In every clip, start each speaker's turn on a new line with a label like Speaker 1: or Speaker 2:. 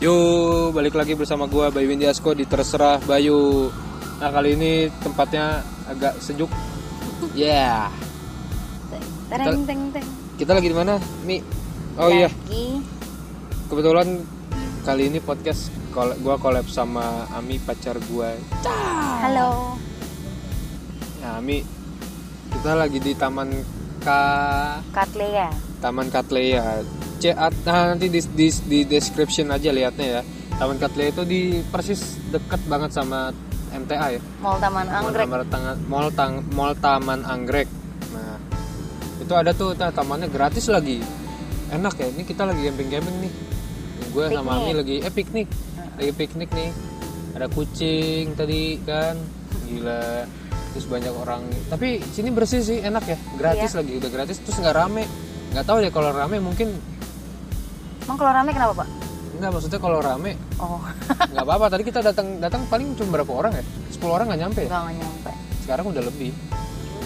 Speaker 1: Yo, balik lagi bersama gua Bayu Windiasko di Terserah Bayu. Nah, kali ini tempatnya agak sejuk. Yeah.
Speaker 2: Tereng teng teng.
Speaker 1: Kita lagi di mana? Mi. Oh iya,
Speaker 2: Lagi
Speaker 1: kebetulan kali ini podcast kol- gua collab sama Ami pacar gua.
Speaker 2: Halo.
Speaker 1: Nah, Ami kita lagi di Taman K
Speaker 2: Katlea.
Speaker 1: Taman Katleya. C nah, nanti di, di, di description aja liatnya ya. Taman Katleya itu di persis deket banget sama MTA ya.
Speaker 2: Mall Taman Anggrek.
Speaker 1: Mall Taman, mall tang, mall Taman Anggrek. Nah, itu ada tuh nah, tamannya gratis lagi. Enak ya. Ini kita lagi camping-camping nih. Gue sama Ami
Speaker 2: Piknik.
Speaker 1: lagi eh piknik. Lagi piknik nih. Ada kucing tadi kan. Gila. Terus banyak orang. Tapi sini bersih sih, enak ya.
Speaker 2: Iya.
Speaker 1: Gratis lagi, udah gratis terus nggak rame. Nggak tahu ya kalau rame mungkin
Speaker 2: Emang kalau rame kenapa, Pak?
Speaker 1: Enggak, maksudnya kalau rame
Speaker 2: Oh,
Speaker 1: nggak apa-apa. Tadi kita datang datang paling cuma berapa orang ya? 10 orang nggak nyampe. ya?
Speaker 2: enggak nggak nyampe.
Speaker 1: sekarang udah lebih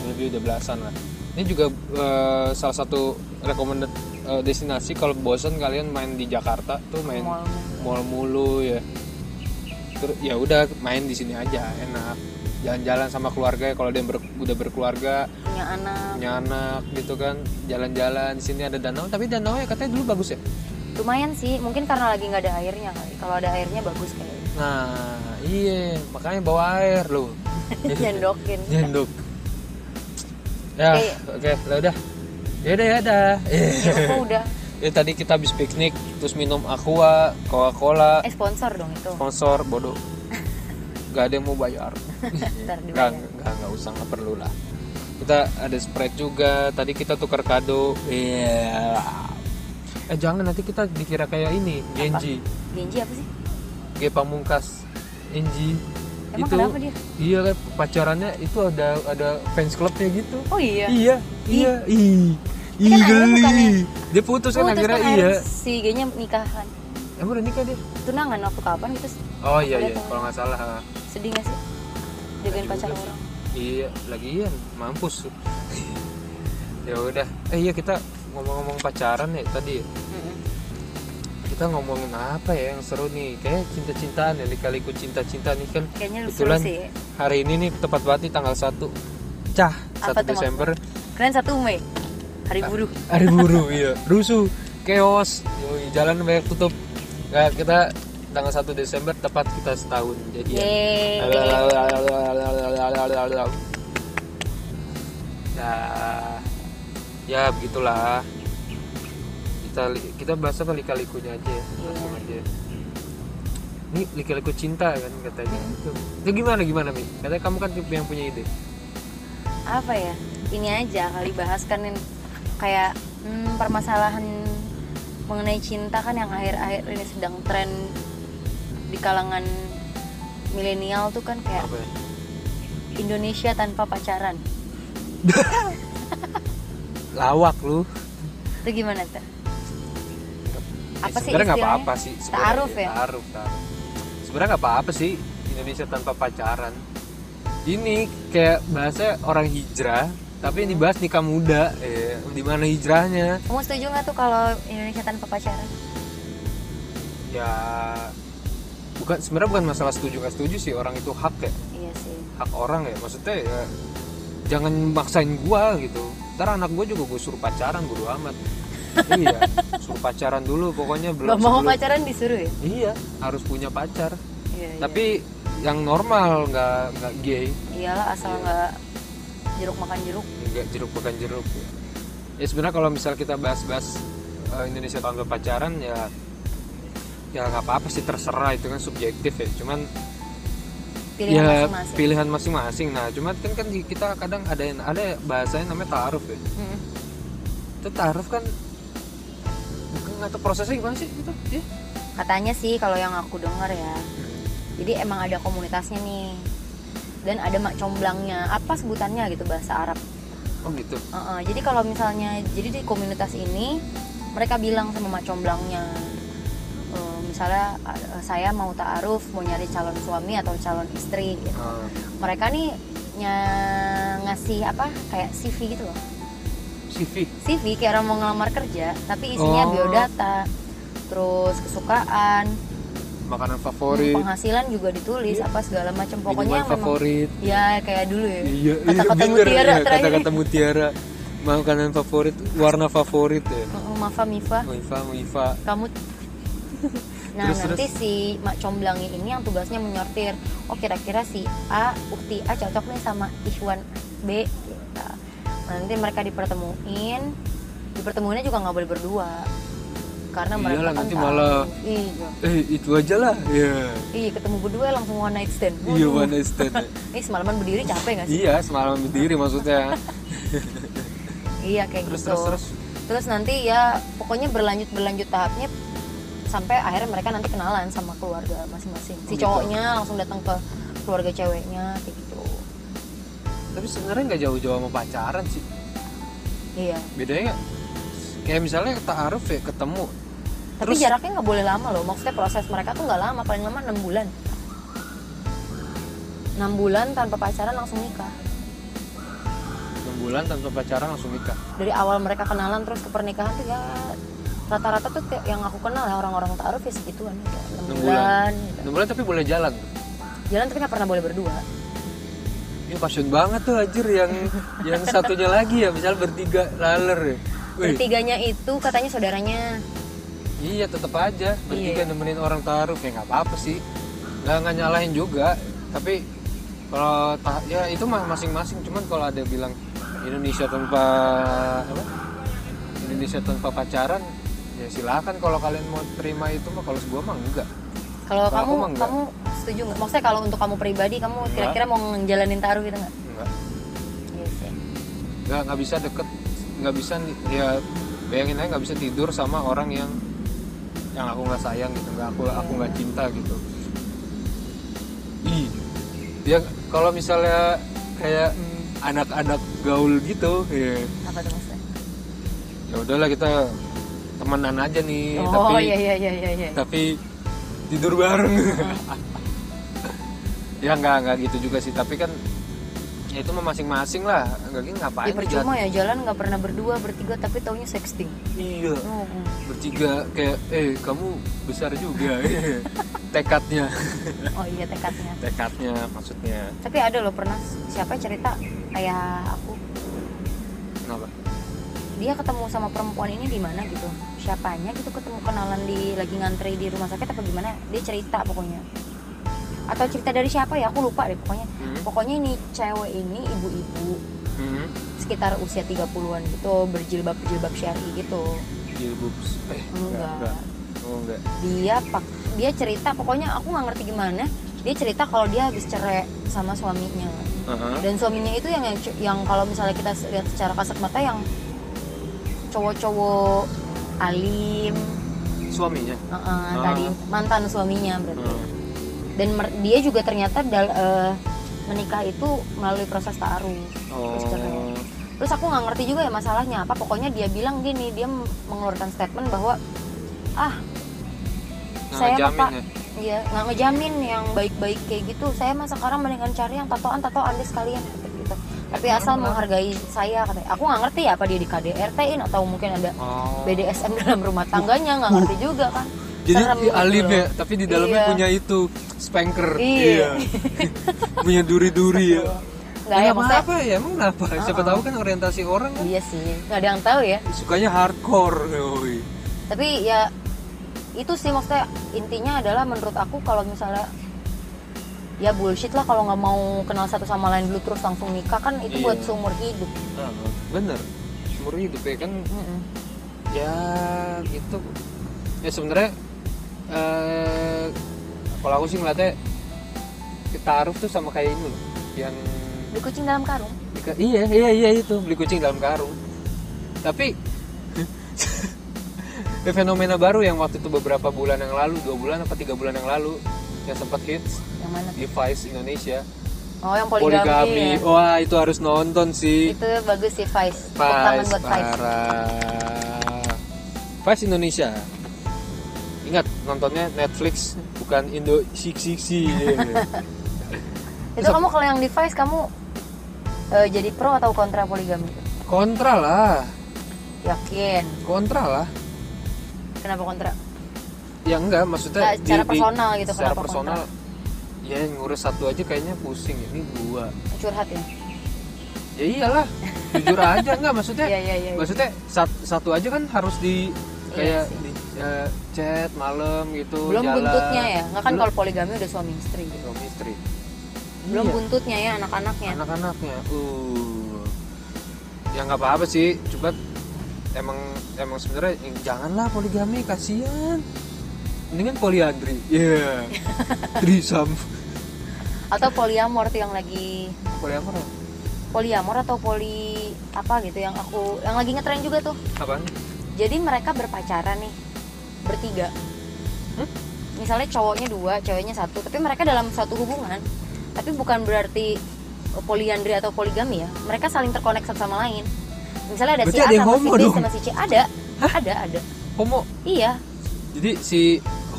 Speaker 1: lebih udah belasan lah ini juga eh, salah satu recommended eh, destinasi kalau bosan kalian main di Jakarta tuh main
Speaker 2: Mall.
Speaker 1: mall mulu ya terus ya udah main di sini aja enak jalan-jalan sama keluarga ya, kalau dia ber- udah berkeluarga
Speaker 2: Punya anak.
Speaker 1: punya anak gitu kan jalan-jalan di sini ada danau tapi danau ya katanya dulu bagus ya
Speaker 2: Lumayan sih, mungkin karena lagi nggak ada airnya kali. Kalau ada airnya bagus kayaknya.
Speaker 1: nah iya makanya bawa air loh
Speaker 2: Jendokin.
Speaker 1: nyenduk ya
Speaker 2: Oke.
Speaker 1: oke lah udah ya udah ya udah
Speaker 2: ya udah.
Speaker 1: ya tadi kita habis piknik terus minum aqua coca cola
Speaker 2: Eh sponsor dong itu.
Speaker 1: sponsor bodoh gak ada yang mau bayar
Speaker 2: Ntar
Speaker 1: nggak
Speaker 2: dibayar.
Speaker 1: nggak nggak usah nggak perlu lah kita ada spread juga tadi kita tukar kado iya eh jangan nanti kita dikira kayak ini Genji
Speaker 2: Genji apa sih?
Speaker 1: G Pamungkas Genji
Speaker 2: Emang kenapa dia?
Speaker 1: iya kan pacarannya itu ada ada fans clubnya gitu
Speaker 2: Oh iya.
Speaker 1: Iya, iya, ih, ih
Speaker 2: Tapi kan akhirnya
Speaker 1: geli.
Speaker 2: bukannya-
Speaker 1: Dia putus kan
Speaker 2: Putus
Speaker 1: akhirnya
Speaker 2: kan
Speaker 1: iya.
Speaker 2: akhirnya si G-nya nikahan.
Speaker 1: Emang udah nikah dia?
Speaker 2: Tunangan waktu kapan gitu?
Speaker 1: Oh iya iya,
Speaker 2: Udah tahu.
Speaker 1: kalau nggak salah. ha.
Speaker 2: Sedih nggak sih? Jagain
Speaker 1: Nggak
Speaker 2: pacar
Speaker 1: juga sih.
Speaker 2: orang.
Speaker 1: Iya, lagi iya, mampus. ya udah. Eh iya kita ngomong-ngomong pacaran ya tadi. ya.
Speaker 2: Mm-mm.
Speaker 1: Kita ngomongin apa ya yang seru nih? Kayak cinta-cintaan ya, dikaliku cinta-cinta nih kan.
Speaker 2: Kayaknya lu seru
Speaker 1: Kebetulan
Speaker 2: sih.
Speaker 1: hari ini nih tepat banget nih tanggal 1 cah 1
Speaker 2: Apa tuh
Speaker 1: Desember
Speaker 2: Keren satu Mei. Hari
Speaker 1: Nah.
Speaker 2: buruh.
Speaker 1: hari buruh iya rusuh chaos Yoi, jalan banyak tutup Nah, kita tanggal 1 Desember tepat kita setahun jadi ya.
Speaker 2: Yeay.
Speaker 1: nah, ya begitulah kita li- kita bahas apa lika-likunya aja ya, langsung aja ini lika-liku cinta kan katanya itu, itu gimana gimana mi katanya kamu kan tipe yang punya ide
Speaker 2: Apa ya? Ini aja kali bahas kan yang kayak hmm, permasalahan mengenai cinta kan yang akhir-akhir ini sedang tren di kalangan milenial tuh kan kayak
Speaker 1: apa ya?
Speaker 2: Indonesia tanpa pacaran.
Speaker 1: lawak lu
Speaker 2: Itu gimana tuh? Apa
Speaker 1: sebenarnya
Speaker 2: sih
Speaker 1: nggak
Speaker 2: istilahnya?
Speaker 1: apa-apa sih sebenarnya.
Speaker 2: Ta'aruf ya?
Speaker 1: Ta'aruf, ta'aruf. sebenarnya nggak apa-apa sih Indonesia tanpa pacaran ini kayak bahasa orang hijrah tapi yang dibahas nikah muda eh, di mana hijrahnya
Speaker 2: Kamu setuju nggak tuh kalau Indonesia tanpa pacaran?
Speaker 1: ya bukan sebenarnya bukan masalah setuju nggak setuju sih orang itu hak ya
Speaker 2: Iya sih.
Speaker 1: hak orang ya maksudnya ya jangan maksain gua gitu ntar anak gua juga gua suruh pacaran bodo amat iya suruh pacaran dulu pokoknya belum
Speaker 2: Gak
Speaker 1: sebelum-
Speaker 2: mau pacaran disuruh ya?
Speaker 1: iya harus punya pacar
Speaker 2: Iya, iya.
Speaker 1: tapi yang normal nggak nggak gay
Speaker 2: iyalah asal nggak jeruk makan jeruk.
Speaker 1: nggak jeruk bukan jeruk ya, Ya, sebenarnya kalau misal kita bahas-bahas eh, Indonesia tanpa pacaran ya ya nggak apa-apa sih terserah itu kan subjektif ya cuman
Speaker 2: Pilihan
Speaker 1: ya
Speaker 2: masing-masing.
Speaker 1: pilihan masing-masing nah cuman kan kan di- kita kadang ada yang ada bahasanya namanya taaruf ya
Speaker 2: Mm-mm.
Speaker 1: itu taaruf kan bukan nggak tahu prosesnya gimana sih gitu ya
Speaker 2: Katanya sih kalau yang aku dengar ya. Jadi emang ada komunitasnya nih. Dan ada mak comblangnya. Apa sebutannya gitu bahasa Arab.
Speaker 1: oh gitu
Speaker 2: Heeh, Jadi kalau misalnya jadi di komunitas ini mereka bilang sama mak comblangnya eh, misalnya eh, saya mau ta'aruf mau nyari calon suami atau calon istri gitu.
Speaker 1: Ah,
Speaker 2: mereka nih nya- ngasih apa kayak CV gitu loh
Speaker 1: CV
Speaker 2: CV kayak orang mau ngelamar kerja tapi isinya
Speaker 1: Oh.
Speaker 2: biodata terus kesukaan
Speaker 1: makanan favorit Iya.
Speaker 2: penghasilan juga ditulis apa segala macam pokoknya
Speaker 1: minuman
Speaker 2: yang memang
Speaker 1: favorit
Speaker 2: ya kayak dulu ya
Speaker 1: iya iya,
Speaker 2: kata-kata
Speaker 1: bener,
Speaker 2: mutiara
Speaker 1: iya,
Speaker 2: terakhir
Speaker 1: kata-kata mutiara makanan favorit warna favorit ya
Speaker 2: Mm, Mafa Mifa
Speaker 1: Mifa Mifa
Speaker 2: kamu nah
Speaker 1: Terus,
Speaker 2: nanti si mak comblangi ini yang tugasnya menyortir oh kira-kira si A ukti A cocok nih sama Ikhwan B gitu. nanti mereka dipertemuin dipertemuinnya juga nggak boleh berdua karena mereka
Speaker 1: Iyalah,
Speaker 2: kan
Speaker 1: nanti
Speaker 2: tahu.
Speaker 1: malah-
Speaker 2: iya
Speaker 1: eh itu aja lah iya
Speaker 2: iya ketemu berdua langsung one night stand
Speaker 1: iya
Speaker 2: Waduh.
Speaker 1: one night stand ya.
Speaker 2: Ih, semalaman berdiri capek gak sih
Speaker 1: iya semalam berdiri maksudnya
Speaker 2: iya kayak
Speaker 1: terus
Speaker 2: gitu
Speaker 1: terus terus
Speaker 2: Terus nanti ya pokoknya berlanjut berlanjut tahapnya sampai akhirnya mereka nanti kenalan sama keluarga masing-masing. Si
Speaker 1: Oh, gitu.
Speaker 2: cowoknya langsung datang ke keluarga ceweknya kayak gitu.
Speaker 1: tapi sebenarnya nggak jauh-jauh sama pacaran sih
Speaker 2: Iya.
Speaker 1: bedanya nggak? kayak misalnya ta'aruf ya ketemu
Speaker 2: Tapi
Speaker 1: Terus-
Speaker 2: jaraknya nggak boleh lama loh. Maksudnya proses mereka tuh nggak lama, paling lama enam bulan. 6 bulan tanpa pacaran langsung nikah.
Speaker 1: 6 bulan tanpa pacaran langsung nikah
Speaker 2: Dari awal mereka kenalan terus ke pernikahan tuh ya rata-rata tuh kayak yang aku kenal ya orang-orang taruh ya segituan ya,
Speaker 1: 6
Speaker 2: 6 bulan.
Speaker 1: bulan.
Speaker 2: gitu.
Speaker 1: 6 bulan tapi boleh jalan
Speaker 2: Jalan tapi nggak pernah boleh berdua.
Speaker 1: ya passion banget tuh anjir yang yang satunya lagi ya misalnya bertiga laler ya Wih,
Speaker 2: Bertiganya itu katanya saudaranya
Speaker 1: iya tetap aja bertiga
Speaker 2: Iya.
Speaker 1: nemenin orang taruh ya nggak apa-apa sih nggak nggak nyalahin juga tapi kalau ta- ya itu mah masing-masing cuman kalau ada bilang Indonesia tanpa apa Indonesia tanpa pacaran ya silakan kalau kalian mau terima itu mah kalau gua mah enggak
Speaker 2: Kalau
Speaker 1: Kalau aku
Speaker 2: kamu
Speaker 1: mah enggak.
Speaker 2: kamu setuju nggak? Maksudnya kalau untuk kamu pribadi kamu
Speaker 1: Enggak.
Speaker 2: kira-kira mau ngejalanin taruh gitu nggak?
Speaker 1: enggak
Speaker 2: Iya sih.
Speaker 1: nggak nggak bisa deket nggak bisa ni- ya bayangin aja nggak bisa tidur sama orang yang yang aku nggak sayang gitu nggak aku aku nggak cinta gitu ih ya kalau misalnya kayak anak-anak gaul gitu ya
Speaker 2: Apa tuh maksudnya?
Speaker 1: ya udahlah kita temenan aja nih
Speaker 2: oh
Speaker 1: tapi
Speaker 2: iya iya iya iya. iya.
Speaker 1: tapi tidur bareng ya nggak nggak gitu juga sih tapi kan ya itu mah masing-masing lah nggak
Speaker 2: Ya
Speaker 1: ngapain
Speaker 2: percuma ya jalan nggak pernah berdua bertiga tapi taunya sexting.
Speaker 1: iya
Speaker 2: Oh,
Speaker 1: bertiga kayak eh kamu besar juga Iya. tekadnya
Speaker 2: oh iya tekadnya.
Speaker 1: tekadnya maksudnya
Speaker 2: Tapi ada loh pernah siapa cerita ayah aku
Speaker 1: kenapa
Speaker 2: dia ketemu sama perempuan ini di mana gitu siapanya gitu ketemu kenalan di lagi ngantri di rumah sakit apa gimana dia cerita pokoknya atau cerita dari siapa ya aku lupa deh pokoknya
Speaker 1: Hmm.
Speaker 2: pokoknya ini cewek ini ibu-ibu
Speaker 1: hmm.
Speaker 2: sekitar usia 30-an gitu berjilbab-jilbab syari gitu
Speaker 1: jilbab eh
Speaker 2: Enggak.
Speaker 1: oh enggak
Speaker 2: dia pak dia cerita pokoknya aku nggak ngerti gimana dia cerita kalau dia habis cerai sama suaminya
Speaker 1: Aha.
Speaker 2: dan suaminya itu yang yang kalau misalnya kita lihat secara kasat mata yang cowok-cowok alim
Speaker 1: suaminya
Speaker 2: eh, eh, tadi mantan suaminya berarti
Speaker 1: Ah. Hmm.
Speaker 2: dan mer- dia juga ternyata dal- eh, menikah itu melalui proses taaruf terus cerai
Speaker 1: oh
Speaker 2: terus aku nggak ngerti juga ya masalahnya apa pokoknya dia bilang gini dia mengeluarkan statement bahwa ah saya mah,
Speaker 1: jamin
Speaker 2: Pak.
Speaker 1: ya
Speaker 2: ya nggak ngejamin yang baik-baik kayak gitu saya mah sekarang mendingan cari yang tatoan tatoan deh sekalian kata gitu tapi
Speaker 1: Hmm.
Speaker 2: asal menghargai saya katanya aku nggak ngerti ya apa dia di KDRT in atau mungkin ada
Speaker 1: oh
Speaker 2: BDSM dalam rumah tangganya nggak ngerti juga kan
Speaker 1: jadi
Speaker 2: Serem
Speaker 1: i- alim
Speaker 2: gitu
Speaker 1: ya
Speaker 2: loh.
Speaker 1: tapi di dalamnya
Speaker 2: Iya.
Speaker 1: punya itu spanker
Speaker 2: Iya.
Speaker 1: punya duri-duri ya
Speaker 2: nggak ya
Speaker 1: emang
Speaker 2: maksudnya
Speaker 1: apa ya emang kenapa siapa tahu kan orientasi orang kan
Speaker 2: iya sih nggak ada yang tahu ya
Speaker 1: sukanya hardcore yoi.
Speaker 2: tapi ya itu sih maksudnya intinya adalah menurut aku kalau misalnya ya bullshit lah kalau nggak mau kenal satu sama lain dulu terus langsung nikah kan itu
Speaker 1: Iya.
Speaker 2: buat seumur hidup
Speaker 1: Ah, bener seumur hidup ya kan
Speaker 2: Mm-mm.
Speaker 1: ya gitu ya sebenarnya eh, kalau aku sih ngeliatnya taruh tuh sama kayak ini loh yang
Speaker 2: Beli kucing dalam karung
Speaker 1: dika- iya iya iya itu beli kucing dalam karung tapi ya, fenomena baru yang waktu itu beberapa bulan yang lalu dua bulan apa tiga bulan yang lalu yang sempat hits
Speaker 2: yang mana
Speaker 1: di Vice Indonesia
Speaker 2: oh yang poligami,
Speaker 1: poligami oh,
Speaker 2: ya.
Speaker 1: wah itu harus nonton sih
Speaker 2: itu bagus sih Vice Tepuk tangan
Speaker 1: Vice
Speaker 2: buat Vice
Speaker 1: parah. Vice Indonesia. Ingat nontonnya Netflix bukan Indo Sik Sik Sik.
Speaker 2: itu kamu kalau yang di Vice kamu eh, jadi pro atau kontra poligami
Speaker 1: kontra lah,
Speaker 2: yakin
Speaker 1: kontra lah.
Speaker 2: kenapa kontra
Speaker 1: ya enggak maksudnya
Speaker 2: Nah, secara personal gitu,
Speaker 1: secara
Speaker 2: kenapa
Speaker 1: personal ya ngurus satu aja kayaknya pusing ini dua
Speaker 2: curhat ya
Speaker 1: ya iyalah jujur aja enggak maksudnya
Speaker 2: Iya, iya, iya, iya.
Speaker 1: maksudnya sat- satu aja kan harus di
Speaker 2: Iya
Speaker 1: kayak
Speaker 2: sih.
Speaker 1: di eh, chat malam gitu
Speaker 2: belum
Speaker 1: jalan.
Speaker 2: buntutnya ya nggak kan
Speaker 1: Belum-
Speaker 2: kalau poligami udah suami istri gitu.
Speaker 1: suami istri
Speaker 2: belum
Speaker 1: Iya.
Speaker 2: buntutnya ya anak-anaknya
Speaker 1: anak-anaknya uh ya nggak apa-apa sih coba emang emang sebenarnya eh, janganlah poligami kasihan mendingan poliandri ya trisam
Speaker 2: atau poliamor tuh yang lagi
Speaker 1: poliamor
Speaker 2: poliamor atau poli apa gitu yang aku yang lagi ngetren juga tuh
Speaker 1: apa
Speaker 2: jadi mereka berpacaran nih bertiga
Speaker 1: Hmm?
Speaker 2: misalnya cowoknya dua ceweknya satu tapi mereka dalam satu hubungan tapi bukan berarti poliandri atau poligami ya mereka saling terkonek satu sama lain misalnya ada
Speaker 1: Berarti
Speaker 2: si A
Speaker 1: ada yang
Speaker 2: sama si
Speaker 1: homo
Speaker 2: B
Speaker 1: dong?
Speaker 2: sama si C ada ada ada
Speaker 1: homo
Speaker 2: iya
Speaker 1: jadi si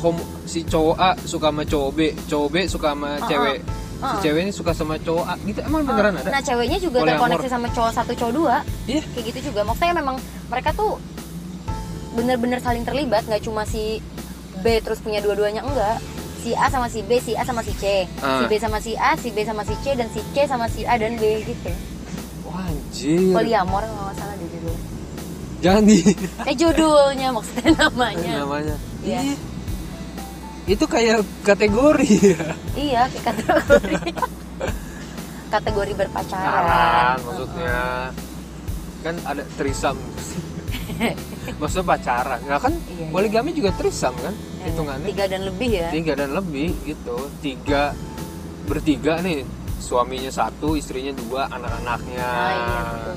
Speaker 1: homo si cowok A suka sama cowok B cowok B suka sama
Speaker 2: Uh-uh.
Speaker 1: cewek si
Speaker 2: Uh-uh.
Speaker 1: cewek ini suka sama cowok A gitu emang beneran ada
Speaker 2: nah ceweknya juga
Speaker 1: Poliamor.
Speaker 2: terkoneksi sama cowok satu cowok dua
Speaker 1: iya
Speaker 2: kayak gitu juga maksudnya memang mereka tuh bener-bener saling terlibat nggak cuma si B terus punya dua-duanya enggak si A sama si B si A sama si C si
Speaker 1: Ah.
Speaker 2: B sama si A si B sama si C dan si C sama si A dan B gitu
Speaker 1: wah anjir
Speaker 2: poliamor kalau nggak salah deh judul
Speaker 1: jangan di
Speaker 2: eh judulnya maksudnya namanya
Speaker 1: namanya
Speaker 2: Iya.
Speaker 1: Ih, itu kayak kategori ya
Speaker 2: iya kayak kategori kategori berpacaran
Speaker 1: pacaran maksudnya kan ada trisam maksudnya pacaran nah kan
Speaker 2: Iya, iya.
Speaker 1: poligami juga trisam kan
Speaker 2: Iya, iya.
Speaker 1: hitungannya
Speaker 2: tiga dan lebih ya
Speaker 1: tiga dan lebih gitu tiga bertiga nih suaminya satu istrinya dua anak-anaknya
Speaker 2: ah, iya betul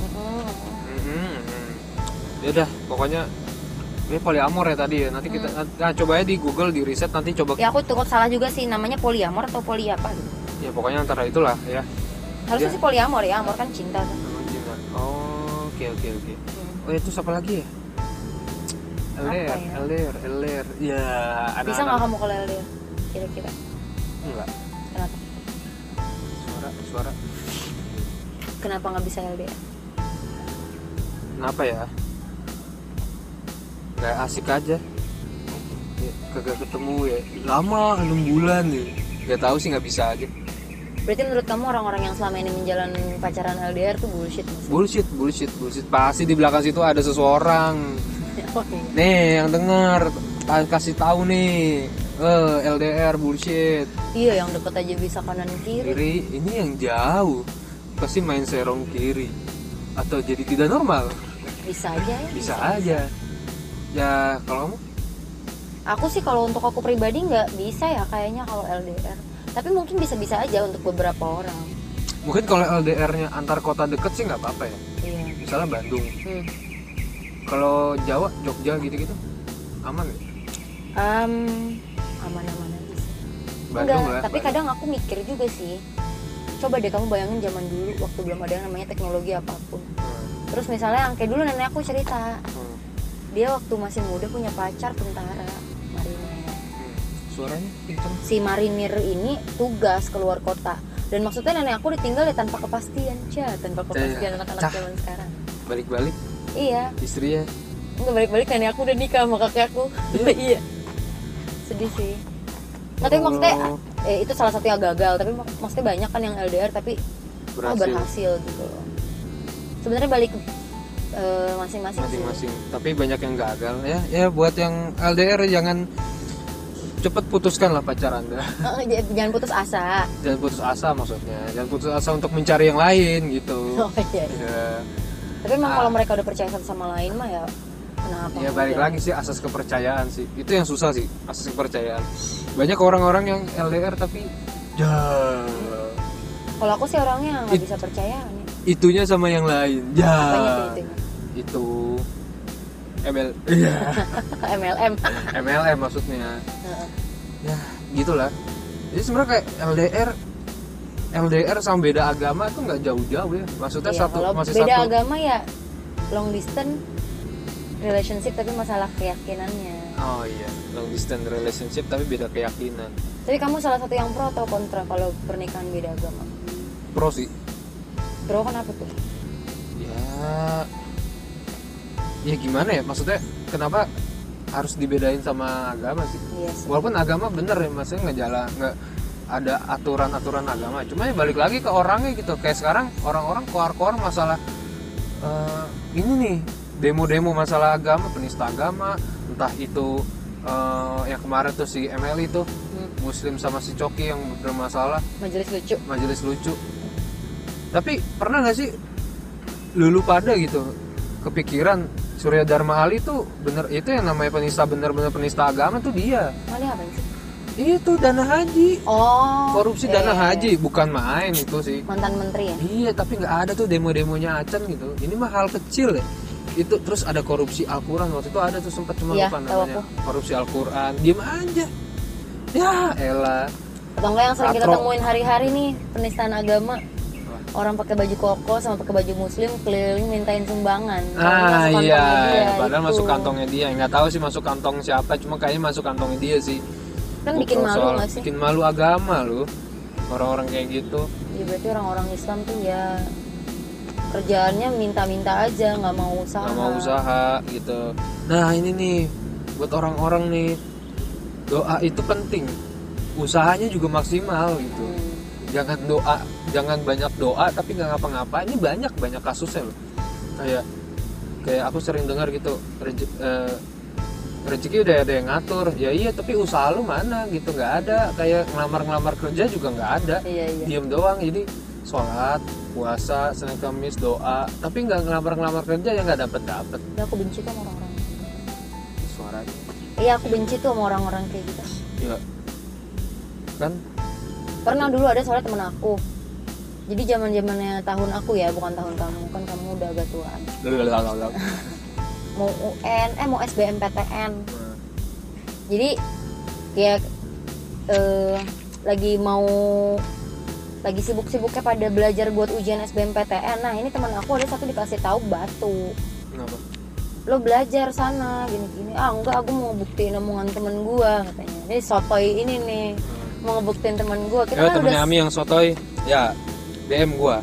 Speaker 2: Mm-mm.
Speaker 1: Mm-mm, mm. ya udah pokoknya ini poliamor ya tadi ya nanti kita nah, coba aja di Google di riset nanti coba
Speaker 2: Hmm. ya aku cukup salah juga sih namanya poliamor atau poli apa gitu
Speaker 1: ya pokoknya antara itulah ya
Speaker 2: harusnya
Speaker 1: Ya.
Speaker 2: sih poliamor ya amor kan cinta kan
Speaker 1: Emang gila. Oh, oke oke oke. Oh, itu siapa lagi ya?
Speaker 2: Apa
Speaker 1: LDR,
Speaker 2: ya?
Speaker 1: LDR, LDR. Ya, anak
Speaker 2: bisa nggak kamu kalau LDR kira-kira
Speaker 1: Enggak.
Speaker 2: kenapa
Speaker 1: Suara suara.
Speaker 2: kenapa nggak bisa LDR
Speaker 1: Kenapa ya? Enggak asik aja. Ya, kagak ketemu ya. Lama, 6 bulan ya. Gak tahu sih nggak bisa aja.
Speaker 2: berarti menurut kamu orang-orang yang selama ini menjalani pacaran LDR tuh bullshit Mas?
Speaker 1: Bullshit, bullshit, bullshit. Pasti di belakang situ ada seseorang. Oh, iya. Nih, yang dengar ta- kasih tahu nih. Eh, LDR bullshit.
Speaker 2: iya yang deket aja bisa kanan kiri
Speaker 1: kiri ini yang jauh pasti main serong kiri atau jadi tidak normal
Speaker 2: bisa aja ya
Speaker 1: bisa aja ya kalau kamu
Speaker 2: aku sih kalau untuk aku pribadi nggak bisa ya kayaknya kalau LDR tapi mungkin bisa-bisa aja untuk beberapa orang
Speaker 1: mungkin kalau LDR-nya antar kota deket sih nggak apa-apa ya
Speaker 2: iya
Speaker 1: misalnya Bandung
Speaker 2: Hmm.
Speaker 1: kalau Jawa Jogja gitu-gitu aman ya?
Speaker 2: Em, aman-aman aja sih
Speaker 1: Bandung
Speaker 2: Enggak,
Speaker 1: lah
Speaker 2: tapi
Speaker 1: Bandung.
Speaker 2: kadang aku mikir juga sih. Coba deh kamu bayangin zaman dulu waktu belum ada yang namanya teknologi apapun. Terus misalnya yang kayak dulu nenek aku cerita,
Speaker 1: Hmm, hmm,
Speaker 2: dia waktu masih muda punya pacar tentara marinir.
Speaker 1: hmm. suaranya kenceng
Speaker 2: Si marinir ini tugas keluar kota. Dan maksudnya nenek aku ditinggal ya tanpa kepastian, Cah, tanpa kepastian anak-anak
Speaker 1: Iya, Cah.
Speaker 2: zaman sekarang.
Speaker 1: balik-balik ya,
Speaker 2: Iya,
Speaker 1: istrinya
Speaker 2: enggak balik-balik nenek aku udah nikah sama kakek aku. iya. Sedih sih. Nggak, tapi maksudnya
Speaker 1: Oh.
Speaker 2: eh, itu salah satu yang gagal, tapi mak- maksudnya banyak kan yang LDR tapi berhasil,
Speaker 1: Berhasil.
Speaker 2: berhasil gitu loh. Sebenarnya balik ke, eh, masing-masing. sih.
Speaker 1: masing-masing tapi banyak yang gagal ya ya buat yang LDR jangan cepet putuskan lah pacar anda
Speaker 2: Eh, j- jangan putus asa.
Speaker 1: jangan putus asa maksudnya jangan putus asa untuk mencari yang lain gitu
Speaker 2: Oh, iya.
Speaker 1: ya,
Speaker 2: Tapi emang kalau mereka udah percaya satu sama lain mah ya kenapa?
Speaker 1: Ah. ya balik
Speaker 2: enggak?
Speaker 1: lagi sih asas kepercayaan sih itu yang susah sih asas kepercayaan banyak orang-orang yang LDR tapi ya
Speaker 2: Kalau aku sih orangnya nggak
Speaker 1: It-
Speaker 2: bisa percaya.
Speaker 1: itunya sama yang lain ya
Speaker 2: Apanya tuh itunya?
Speaker 1: itu ML iya
Speaker 2: MLM.
Speaker 1: MLM maksudnya ya gitulah jadi sebenarnya kayak LDR LDR sama beda agama tuh nggak jauh-jauh ya maksudnya
Speaker 2: Iya,
Speaker 1: satu
Speaker 2: kalau
Speaker 1: masih
Speaker 2: beda
Speaker 1: satu
Speaker 2: agama ya long distance relationship tapi masalah keyakinannya.
Speaker 1: oh iya long distance relationship tapi beda keyakinan
Speaker 2: Tapi kamu salah satu yang pro atau kontra kalau pernikahan beda agama?
Speaker 1: pro sih
Speaker 2: Pro kenapa tuh?
Speaker 1: ya ya gimana ya maksudnya kenapa harus dibedain sama agama sih
Speaker 2: Iya sih.
Speaker 1: walaupun agama bener ya maksudnya nggak jalan nggak ada aturan-aturan agama cuma ya balik lagi ke orangnya gitu kayak sekarang orang-orang keluar-keluar masalah eh, ini nih demo-demo masalah agama penista agama entah itu eh, yang kemarin tuh si ML itu
Speaker 2: Hmm,
Speaker 1: muslim sama si Coki yang bermasalah
Speaker 2: majelis lucu.
Speaker 1: majelis lucu tapi pernah nggak sih lulu pada gitu kepikiran Surya Dharma Ali tuh bener itu yang namanya penista bener-bener penista agama tuh dia
Speaker 2: Oh, ini apa sih?
Speaker 1: itu dana haji
Speaker 2: Oh.
Speaker 1: korupsi
Speaker 2: iya,
Speaker 1: dana
Speaker 2: iya,
Speaker 1: haji
Speaker 2: iya.
Speaker 1: bukan main itu sih
Speaker 2: Mantan menteri ya.
Speaker 1: iya tapi nggak ada tuh demo-demonya Acan gitu ini mah hal kecil ya itu terus ada korupsi Al-Quran waktu itu ada tuh sempat cuma
Speaker 2: Iya,
Speaker 1: lupa
Speaker 2: tahu
Speaker 1: namanya
Speaker 2: aku.
Speaker 1: korupsi Al-Quran diem aja ya elah
Speaker 2: Atau enggak yang sering kita
Speaker 1: Katro.
Speaker 2: temuin hari-hari nih penistaan agama.
Speaker 1: Wah.
Speaker 2: Orang pakai baju koko sama pakai baju muslim keliling mintain sumbangan.
Speaker 1: Ah
Speaker 2: Padahal masuk
Speaker 1: iya,
Speaker 2: kantongnya dia,
Speaker 1: padahal
Speaker 2: gitu.
Speaker 1: masuk kantongnya dia. Nggak tahu sih masuk kantong siapa, cuma kayaknya masuk kantongnya dia sih.
Speaker 2: Kan bikin
Speaker 1: Bukan
Speaker 2: malu
Speaker 1: soal-
Speaker 2: nggak sih?
Speaker 1: Bikin malu agama lu. Orang-orang kayak gitu.
Speaker 2: Ya berarti orang-orang Islam tuh ya kerjaannya minta-minta aja, nggak mau usaha.
Speaker 1: nggak mau usaha gitu. Nah, ini nih buat orang-orang nih doa itu penting. Usahanya juga maksimal gitu.
Speaker 2: Hmm.
Speaker 1: jangan doa jangan banyak doa tapi nggak ngapa-ngapa ini banyak banyak kasusnya loh kayak kayak aku sering dengar gitu reje- eh, rezeki udah ada yang ngatur ya iya tapi usaha lu mana gitu nggak ada kayak ngelamar-ngelamar kerja juga nggak ada
Speaker 2: Iya iya.
Speaker 1: diem doang jadi sholat puasa senin kamis doa tapi nggak ngelamar-ngelamar kerja ya nggak dapet dapet
Speaker 2: Udah, Iya, aku benci tuh sama orang-orang.
Speaker 1: suaranya
Speaker 2: Iya aku benci tuh sama orang-orang kayak gitu.
Speaker 1: ya kan
Speaker 2: Pernah dulu ada soalnya temen aku. Jadi zaman zamannya tahun aku ya, bukan tahun kamu. Kan kamu udah agak tuaan.
Speaker 1: Lalalala.
Speaker 2: Mau UN, eh mau SBMPTN. Jadi ya eh, lagi mau lagi sibuk-sibuknya pada belajar buat ujian SBMPTN. Nah ini teman aku ada satu dikasih tahu batu.
Speaker 1: kenapa
Speaker 2: lo belajar sana gini-gini ah enggak aku mau buktiin omongan temen gua katanya ini sotoy ini nih mau ngebuktiin temen gua kita
Speaker 1: Ya
Speaker 2: kan udah
Speaker 1: temennya Ami yang sotoy, ya DM gua.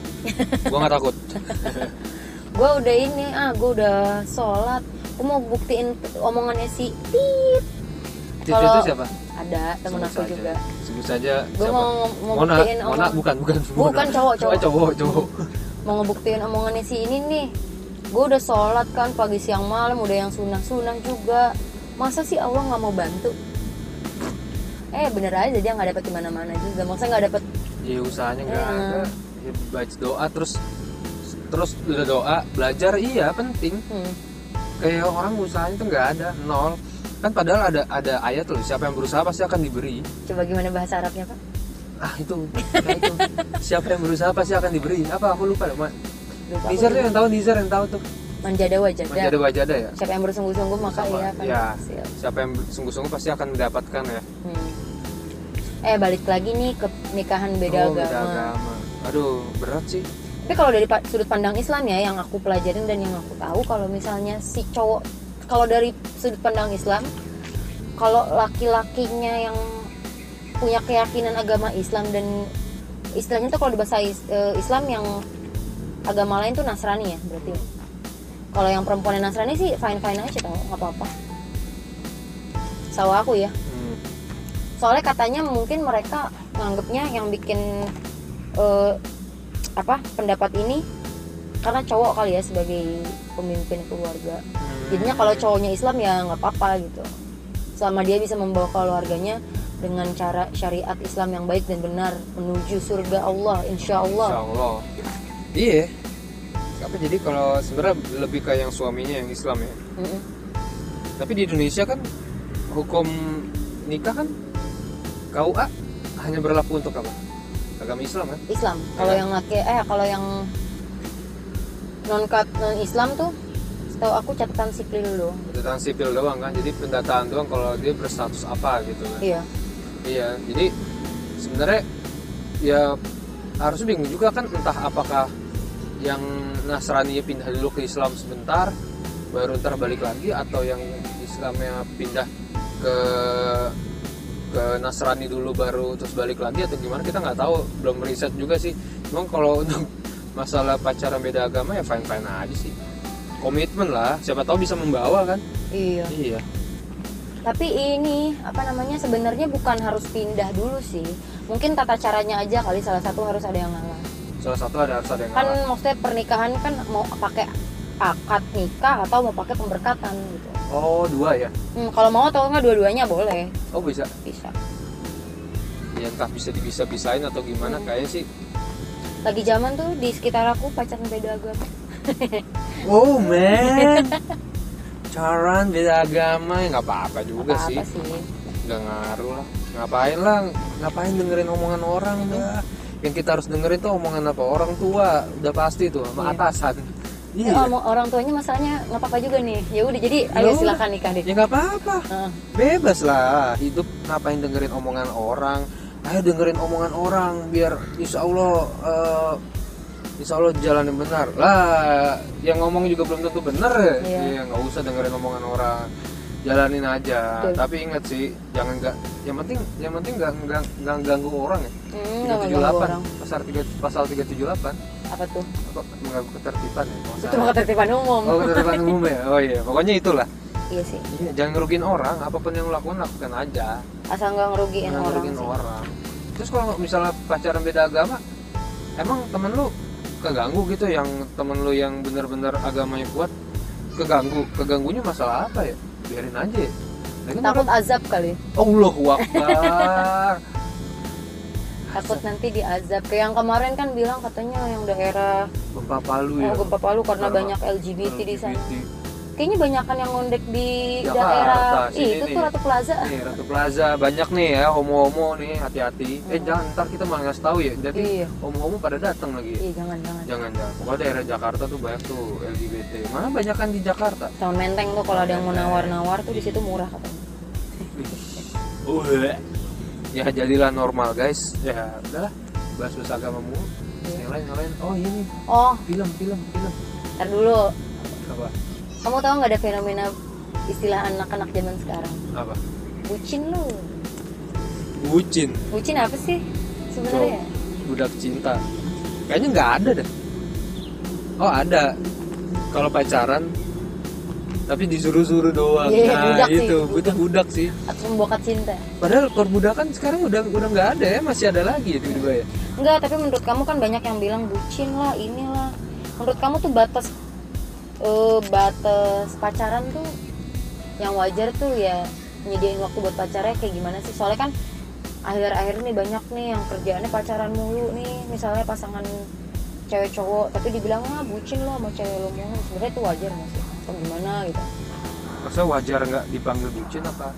Speaker 1: Gua nggak takut.
Speaker 2: gua udah ini ah gua udah sholat gua mau buktiin omongannya si tit
Speaker 1: Titit itu siapa?
Speaker 2: ada temen
Speaker 1: Sebut
Speaker 2: aku
Speaker 1: saja.
Speaker 2: juga
Speaker 1: Sebut saja
Speaker 2: gua
Speaker 1: siapa?
Speaker 2: mau mau
Speaker 1: Mona,
Speaker 2: buktiin
Speaker 1: Mona
Speaker 2: omong-
Speaker 1: bukan, bukan.
Speaker 2: Bukan, cowok, cowok.
Speaker 1: Oh, cowok, cowok.
Speaker 2: mau ngebuktiin omongannya si ini nih gua udah sholat kan pagi siang malam udah yang sunah sunah juga masa sih Allah nggak mau bantu eh bener aja dia nggak dapet gimana mana juga maksudnya nggak dapet
Speaker 1: Ya usahanya nggak
Speaker 2: Iya.
Speaker 1: ada. Ya, baca doa terus terus udah doa belajar iya penting
Speaker 2: hmm,
Speaker 1: kayak Eh, orang usahanya tuh nggak ada nol kan padahal ada ada ayat loh siapa yang berusaha pasti akan diberi
Speaker 2: Coba gimana bahasa Arabnya pak?
Speaker 1: ah itu, nah, itu. siapa yang berusaha pasti akan diberi apa aku lupa loh mas
Speaker 2: Lupa
Speaker 1: Nizar tuh
Speaker 2: aku.
Speaker 1: yang tahu Nizar yang tahu tuh
Speaker 2: Manjada
Speaker 1: masih
Speaker 2: wajada.
Speaker 1: ada wajada ya
Speaker 2: Siapa yang bersungguh-sungguh maka
Speaker 1: Sama,
Speaker 2: ia akan
Speaker 1: iya.
Speaker 2: berhasil.
Speaker 1: siapa yang sungguh-sungguh pasti akan mendapatkan ya
Speaker 2: Hmm. Eh balik lagi nih ke nikahan beda
Speaker 1: Oh,
Speaker 2: agama.
Speaker 1: agama. aduh berat sih
Speaker 2: Tapi kalau dari pa- sudut pandang Islam ya yang aku pelajarin dan yang aku tahu kalau misalnya si cowok kalau dari sudut pandang Islam kalau laki-lakinya yang punya keyakinan agama Islam dan istilahnya tuh kalau di bahasa Is- eh, Islam yang agama lain tuh Nasrani ya berarti. ya? Kalau yang perempuan yang Nasrani sih fine-fine aja tau, nggak apa-apa. Sawa aku ya
Speaker 1: Hmm.
Speaker 2: soalnya katanya mungkin mereka nganggapnya yang bikin eh, apa pendapat ini karena cowok kali ya sebagai pemimpin keluarga jadinya kalau cowoknya Islam ya nggak apa-apa gitu selama dia bisa membawa keluarganya dengan cara syariat Islam yang baik dan benar menuju surga Allah insya
Speaker 1: Insya
Speaker 2: ya Allah
Speaker 1: Allah. iya apa jadi kalau sebenarnya lebih ke yang suaminya yang Islam ya
Speaker 2: Mm-mm.
Speaker 1: tapi di Indonesia kan hukum nikah kan KUA hanya berlaku untuk apa agama Islam kan
Speaker 2: Islam kalau
Speaker 1: Iya.
Speaker 2: yang laki eh kalau yang non non Islam tuh setahu aku catatan sipil dulu
Speaker 1: pendataan sipil doang kan jadi pendataan doang kalau dia berstatus apa gitu kan
Speaker 2: iya
Speaker 1: Iya, jadi sebenarnya ya harus bingung juga kan entah apakah yang Nasrani ya pindah dulu ke Islam sebentar baru ntar balik lagi atau yang Islamnya pindah ke ke Nasrani dulu baru terus balik lagi atau gimana kita nggak tahu belum riset juga sih cuma kalau untuk masalah pacaran beda agama ya fine fine aja sih komitmen lah siapa tahu bisa membawa kan
Speaker 2: iya
Speaker 1: iya
Speaker 2: Tapi ini apa namanya sebenarnya bukan harus pindah dulu sih. Mungkin tata caranya aja kali salah satu harus ada yang ngalah.
Speaker 1: salah satu ada harus ada yang
Speaker 2: Kan
Speaker 1: ngalah
Speaker 2: maksudnya pernikahan kan mau pakai akad nikah atau mau pakai pemberkatan gitu.
Speaker 1: oh dua ya
Speaker 2: Hmm, kalau mau atau enggak dua-duanya boleh,
Speaker 1: oh bisa
Speaker 2: bisa.
Speaker 1: ya entah bisa dibisa bisain atau gimana
Speaker 2: Hmm.
Speaker 1: kayaknya sih
Speaker 2: Lagi zaman tuh di sekitar aku pacaran beda agama.
Speaker 1: wow man Caran beda agama ya nggak apa-apa juga sih,
Speaker 2: Apa-apa sih.
Speaker 1: nggak ngaruh lah. Ngapain lah? Ngapain dengerin omongan orang dah? Yang kita harus dengerin tuh omongan apa? Orang tua udah pasti tuh sama
Speaker 2: Iya.
Speaker 1: atasan.
Speaker 2: Eh,
Speaker 1: Iya.
Speaker 2: oh, mau orang tuanya masalahnya nggak apa-apa juga nih. Ya udah jadi
Speaker 1: Ya
Speaker 2: ayo
Speaker 1: udah.
Speaker 2: silakan nikah deh. Ah,
Speaker 1: Ya nggak apa-apa.
Speaker 2: Heeh.
Speaker 1: bebas lah hidup ngapain dengerin omongan orang ayo dengerin omongan orang biar insya Allah eh, insya Allah jalan yang benar lah yang ngomong juga belum tentu benar ya.
Speaker 2: Iya.
Speaker 1: ya nggak usah dengerin omongan orang jalanin aja
Speaker 2: Betul.
Speaker 1: tapi ingat sih jangan nggak yang penting yang penting nggak nggak nggak ganggu orang ya
Speaker 2: Hmm, nggak ganggu
Speaker 1: 378
Speaker 2: orang.
Speaker 1: pasal 3 pasal 378
Speaker 2: Apa tuh?
Speaker 1: apa mengganggu ketertiban ya kalau
Speaker 2: Itu
Speaker 1: salah.
Speaker 2: mah ketertiban umum.
Speaker 1: oh ketertiban umum ya oh iya pokoknya itulah
Speaker 2: Iya sih.
Speaker 1: Iya, jangan ngerugiin orang apapun yang lo lakukan lakukan aja
Speaker 2: Asal nggak
Speaker 1: Jangan
Speaker 2: ngerugiin Iya, orang.
Speaker 1: ngerugiin
Speaker 2: sih.
Speaker 1: orang. Terus kalau misalnya pacaran beda agama, emang temen lu keganggu gitu yang temen lu yang benar-benar agamanya kuat keganggu keganggunya masalah apa ya biarin aja ya. Lagian
Speaker 2: Takut
Speaker 1: orang,
Speaker 2: azab kali.
Speaker 1: Allah wakbar
Speaker 2: Takut nanti diazab. Kayak yang kemarin kan bilang katanya yang daerah
Speaker 1: gempa palu ya
Speaker 2: oh, gempa Palu
Speaker 1: Karena
Speaker 2: karena banyak LGBT di sana.
Speaker 1: LGBT.
Speaker 2: Kayaknya banyakan yang ngondek di
Speaker 1: Jakarta,
Speaker 2: daerah
Speaker 1: sini
Speaker 2: Ih, itu
Speaker 1: nih.
Speaker 2: tuh Ratu Plaza.
Speaker 1: Nih, Ratu Plaza banyak nih ya homo-homo nih hati-hati eh
Speaker 2: Hmm.
Speaker 1: jangan ntar kita malah ngasih tahu ya jadi
Speaker 2: Iya,
Speaker 1: homo-homo pada datang lagi
Speaker 2: iya jangan jangan.
Speaker 1: jangan jangan pokoknya daerah Jakarta tuh banyak tuh LGBT mana banyak kan di Jakarta
Speaker 2: Tahun menteng tuh kalau ada yang mau nawar-nawar tuh di situ murah katanya.
Speaker 1: ya jadilah normal guys Oh, ya udahlah bahas bahas agama mulu Terus nyalain nyalain oh ini
Speaker 2: Oh,
Speaker 1: film film film
Speaker 2: ntar dulu.
Speaker 1: apa
Speaker 2: Kamu tahu nggak ada fenomena istilah anak-anak zaman sekarang?
Speaker 1: apa
Speaker 2: Bucin lu.
Speaker 1: bucin
Speaker 2: Bucin apa sih
Speaker 1: Cowok.
Speaker 2: sebenarnya?
Speaker 1: budak cinta kayaknya nggak ada deh oh ada kalau pacaran tapi disuruh-suruh doang
Speaker 2: Iya, iya,
Speaker 1: nah
Speaker 2: budak sih,
Speaker 1: itu
Speaker 2: budak.
Speaker 1: itu budak sih
Speaker 2: Atau membokat cinta?
Speaker 1: padahal perbudakan sekarang udah udah nggak ada ya masih ada lagi ya tiba-tiba ya
Speaker 2: Enggak, tapi menurut kamu kan banyak yang bilang bucin lah, inilah. Menurut kamu tuh batas eh, batas pacaran tuh yang wajar tuh ya nyediain waktu buat pacarnya kayak gimana sih? Soalnya kan akhir-akhir ini banyak nih yang kerjaannya pacaran mulu nih, misalnya pasangan cewek cowok, tapi dibilang ah bucin lo sama cewek lo mulu. Sebenarnya itu wajar nggak sih? Atau gimana gitu?
Speaker 1: masa wajar nggak dipanggil bucin apa Wajar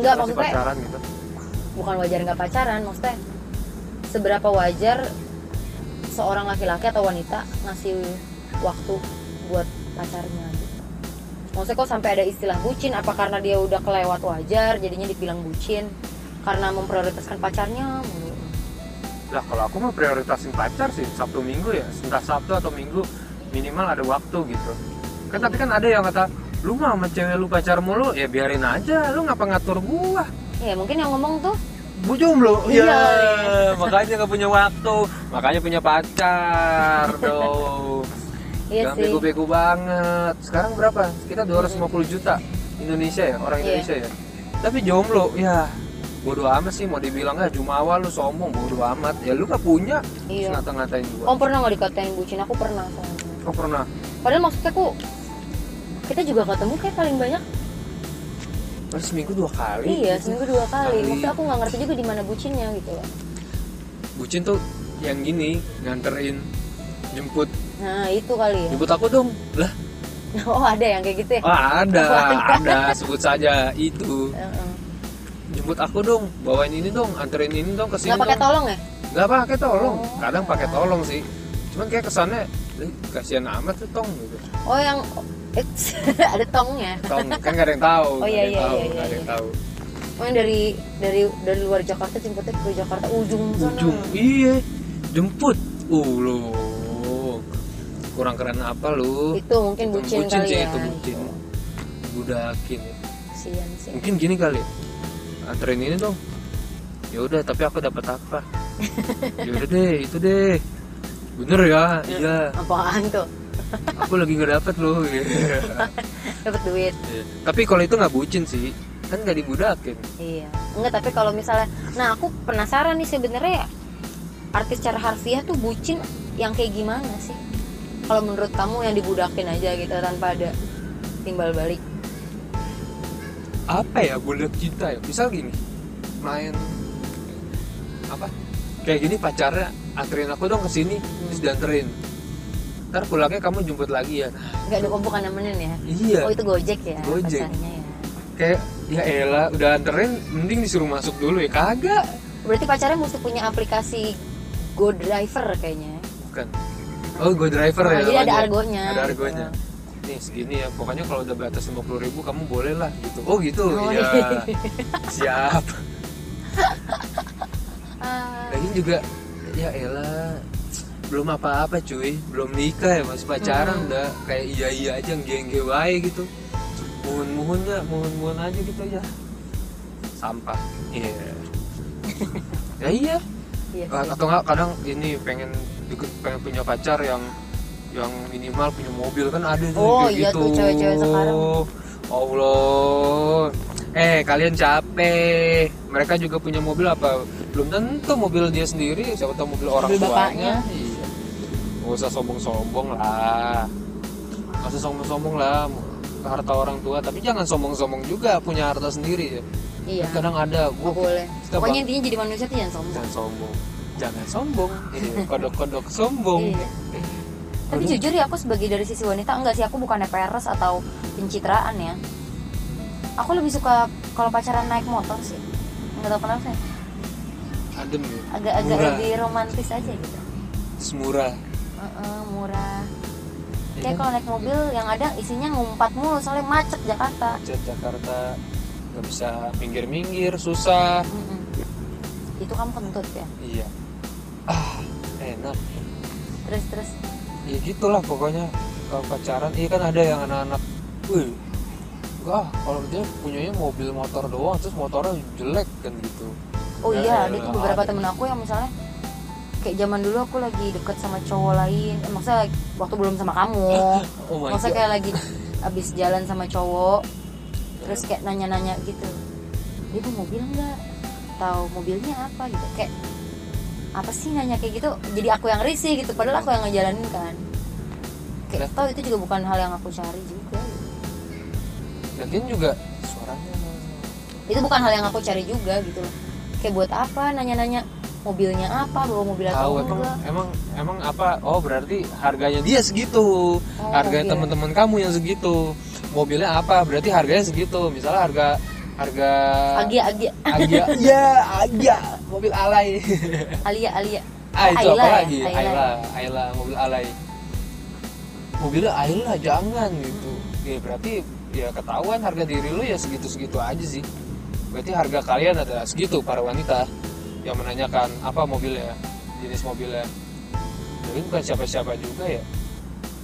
Speaker 1: nggak sih
Speaker 2: maksudnya-
Speaker 1: pacaran gitu
Speaker 2: Bukan wajar nggak pacaran, maksudnya seberapa wajar seorang laki-laki atau wanita ngasih waktu buat pacarnya gitu. Maksudnya kok sampai ada istilah bucin apa karena dia udah kelewat wajar jadinya dibilang bucin karena memprioritaskan pacarnya mulu.
Speaker 1: Lah kalau aku mah prioritasin pacar sih Sabtu Minggu ya, entah Sabtu atau Minggu minimal ada waktu gitu. Kan tapi kan ada yang kata, lu mah sama cewek lu pacar mulu, ya biarin aja, lu ngapa ngatur gua?
Speaker 2: Ya mungkin yang ngomong tuh
Speaker 1: Bu jomblo,
Speaker 2: Iya.
Speaker 1: Iya, makanya nggak punya waktu, makanya punya pacar dong.
Speaker 2: iya
Speaker 1: Jangan
Speaker 2: sih.
Speaker 1: bego-bego banget. Sekarang berapa? Kita 250 juta Indonesia ya, orang
Speaker 2: Iya.
Speaker 1: Indonesia ya. Tapi jomblo, ya bodoh amat sih mau dibilang ya Jumawa lu sombong bodoh amat ya lu gak punya
Speaker 2: Iya.
Speaker 1: terus ngata-ngatain gua
Speaker 2: Om pernah nggak dikatain bucin? Aku pernah soalnya.
Speaker 1: Oh pernah.
Speaker 2: Padahal maksudnya aku kita juga ketemu kayak paling banyak
Speaker 1: Terus Kan seminggu dua kali.
Speaker 2: iya seminggu dua kali.
Speaker 1: Kali.
Speaker 2: Maksudnya aku nggak ngerti juga di mana bucinnya gitu loh.
Speaker 1: Bucin tuh yang gini nganterin jemput
Speaker 2: Nah itu kali ya.
Speaker 1: jemput aku dong lah
Speaker 2: Oh ada yang kayak gitu ya.
Speaker 1: oh, ada ada sebut saja itu
Speaker 2: Heeh.
Speaker 1: jemput aku dong bawain ini dong anterin ini dong ke sini
Speaker 2: Nggak pakai
Speaker 1: dong.
Speaker 2: tolong ya?
Speaker 1: nggak pakai tolong
Speaker 2: Oh.
Speaker 1: kadang pakai tolong sih cuman kayak kesannya "Eh, kasihan amat tuh tong gitu
Speaker 2: Oh yang Eits, ada tongnya.
Speaker 1: tong kan nggak ada yang tahu
Speaker 2: Oh,
Speaker 1: nggak ada
Speaker 2: iya,
Speaker 1: yang
Speaker 2: iya,
Speaker 1: tahu
Speaker 2: iya,
Speaker 1: nggak ada yang
Speaker 2: iya.
Speaker 1: tahu
Speaker 2: Oh yang dari dari dari luar Jakarta jemputnya ke Jakarta ujung sana.
Speaker 1: ujung iya jemput uh lu kurang keren apa lu
Speaker 2: Itu mungkin bucin, kali
Speaker 1: sih,
Speaker 2: ya.
Speaker 1: itu bucin budakin
Speaker 2: Kasian sih.
Speaker 1: mungkin gini kali anterin ini dong ya udah tapi aku dapat apa ya udah deh itu deh bener ya iya
Speaker 2: Apaan tuh?
Speaker 1: aku lagi nggak dapat loh Iya.
Speaker 2: Dapat duit.
Speaker 1: tapi kalau itu nggak bucin sih kan gak dibudakin
Speaker 2: Iya. Enggak, tapi kalau misalnya nah aku penasaran nih sebenarnya ya, artis secara harfiah tuh bucin yang kayak gimana sih? Kalau menurut kamu yang dibudakin aja gitu tanpa ada timbal balik.
Speaker 1: apa ya budak cinta ya misal gini main apa kayak gini pacarnya anterin aku dong ke sini terus dianterin ntar pulangnya kamu jemput lagi ya Nah,
Speaker 2: Enggak ada bukan nemenin ya.
Speaker 1: iya
Speaker 2: Oh, itu Gojek ya
Speaker 1: Gojek.
Speaker 2: pacarnya ya.
Speaker 1: kayak ya elah udah anterin mending disuruh masuk dulu ya kagak
Speaker 2: Berarti pacarnya mesti punya aplikasi Go Driver kayaknya.
Speaker 1: bukan oh go driver
Speaker 2: Oh,
Speaker 1: ya
Speaker 2: jadi ada
Speaker 1: namanya.
Speaker 2: argonya,
Speaker 1: ada
Speaker 2: gitu.
Speaker 1: argonya nih segini ya pokoknya kalau udah batas 50.000 ribu kamu boleh lah gitu oh gitu
Speaker 2: Oh,
Speaker 1: ya
Speaker 2: iya.
Speaker 1: siap
Speaker 2: Ah,
Speaker 1: lagi juga ya elah belum apa-apa cuy belum nikah ya masih pacaran
Speaker 2: Hmm.
Speaker 1: udah kayak iya iya aja ngenge wae gitu mohon mohon ya mohon mohon aja gitu ya sampah iya ya iya
Speaker 2: iya sih.
Speaker 1: atau nggak kadang ini pengen deket- pengen punya pacar yang yang minimal punya mobil kan ada tuh
Speaker 2: Oh,
Speaker 1: kayak
Speaker 2: iya tuh cewek-cewek sekarang.
Speaker 1: Allah eh kalian capek mereka juga punya mobil apa belum tentu mobil dia sendiri siapa tahu mobil orang
Speaker 2: Mobil
Speaker 1: tuanya
Speaker 2: bapaknya.
Speaker 1: iya nggak usah sombong-sombong lah nggak usah sombong-sombong lah harta orang tua tapi jangan sombong-sombong juga punya harta sendiri ya
Speaker 2: Iya.
Speaker 1: kadang ada
Speaker 2: nggak
Speaker 1: gua
Speaker 2: boleh.
Speaker 1: kita
Speaker 2: Pokoknya intinya jadi manusia tuh jangan sombong.
Speaker 1: jangan sombong jangan sombong Iya, kodok-kodok sombong
Speaker 2: Iya. Tapi
Speaker 1: Aduh.
Speaker 2: jujur ya aku sebagai dari sisi wanita enggak sih aku bukannya peres atau pencitraan ya. Aku lebih suka kalau pacaran naik motor sih. Enggak tahu kenapa ya.
Speaker 1: adem ya
Speaker 2: Agak-agak
Speaker 1: murah
Speaker 2: lebih romantis aja gitu.
Speaker 1: Terus murah
Speaker 2: Heeh, murah.
Speaker 1: Iya
Speaker 2: Kayak
Speaker 1: kan?
Speaker 2: kalau naik mobil yang ada isinya ngumpat mulu soalnya macet Jakarta.
Speaker 1: Macet Jakarta nggak bisa minggir-minggir susah
Speaker 2: Mm-mm. Itu kamu kentut ya.
Speaker 1: iya ah enak
Speaker 2: Terus terus
Speaker 1: ya gitulah pokoknya kalau pacaran iya kan ada yang anak-anak wih ah kalau dia punyanya mobil motor doang terus motornya jelek kan gitu
Speaker 2: Oh
Speaker 1: Ya,
Speaker 2: iya,
Speaker 1: ya,
Speaker 2: ada tuh
Speaker 1: ya,
Speaker 2: beberapa
Speaker 1: ada.
Speaker 2: temen aku yang misalnya kayak zaman dulu aku lagi deket sama cowok lain, eh, maksudnya waktu belum sama kamu,
Speaker 1: oh my
Speaker 2: maksudnya
Speaker 1: god
Speaker 2: kayak lagi abis jalan sama cowok, terus kayak nanya-nanya gitu, dia tuh mobil nggak, tahu mobilnya apa gitu, kayak apa sih nanya kayak gitu, jadi aku yang risih gitu, padahal aku yang ngejalanin kan, kayak
Speaker 1: Nah.
Speaker 2: tau itu juga bukan hal yang aku cari juga, gitu.
Speaker 1: lagian juga suaranya
Speaker 2: itu bukan hal yang aku cari juga gitu loh, kayak buat apa nanya-nanya mobilnya apa, bawa mobil
Speaker 1: tahu
Speaker 2: atau
Speaker 1: emang
Speaker 2: enggak.
Speaker 1: emang emang apa oh berarti harganya dia segitu
Speaker 2: Oh,
Speaker 1: harganya
Speaker 2: iya.
Speaker 1: teman-teman kamu yang segitu mobilnya apa berarti harganya segitu misalnya harga harga
Speaker 2: Agia, Agia,
Speaker 1: Agia ya Agia mobil alay
Speaker 2: Alia, Alia.
Speaker 1: ah itu
Speaker 2: Ayla
Speaker 1: apa
Speaker 2: ya?
Speaker 1: lagi
Speaker 2: Ayla.
Speaker 1: Ayla Ayla mobil alay mobilnya Ayla jangan gitu ya
Speaker 2: Hmm.
Speaker 1: berarti ya ketahuan harga diri lu ya segitu-segitu aja sih berarti harga kalian adalah segitu para wanita yang menanyakan apa mobilnya jenis mobilnya jadi bukan siapa-siapa juga ya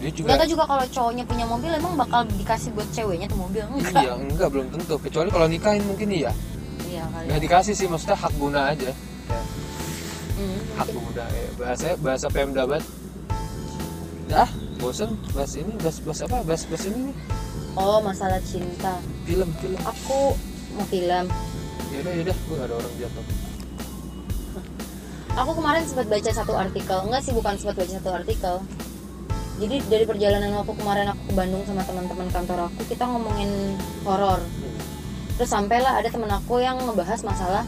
Speaker 1: dia juga
Speaker 2: Gak tau juga kalau cowoknya punya mobil emang bakal dikasih buat ceweknya tuh mobil enggak?
Speaker 1: iya enggak belum tentu kecuali kalau nikahin mungkin iya
Speaker 2: Iya kali.
Speaker 1: nggak dikasih sih maksudnya hak guna aja
Speaker 2: Iya.
Speaker 1: ya.
Speaker 2: Hmm,
Speaker 1: hak
Speaker 2: mungkin.
Speaker 1: pemuda ya. bahasa bahasa Pemda banget dah bosen bahas ini bahas bahas apa bahas bahas ini nih
Speaker 2: Oh masalah cinta.
Speaker 1: film film
Speaker 2: Aku mau film.
Speaker 1: yaudah yaudah gue ada orang jatuh
Speaker 2: Aku kemarin sempat baca satu artikel. Enggak sih bukan sempat baca satu artikel. Jadi dari perjalanan waktu kemarin aku ke Bandung sama teman-teman kantor aku kita ngomongin horor. Terus sampailah ada temen aku yang ngebahas masalah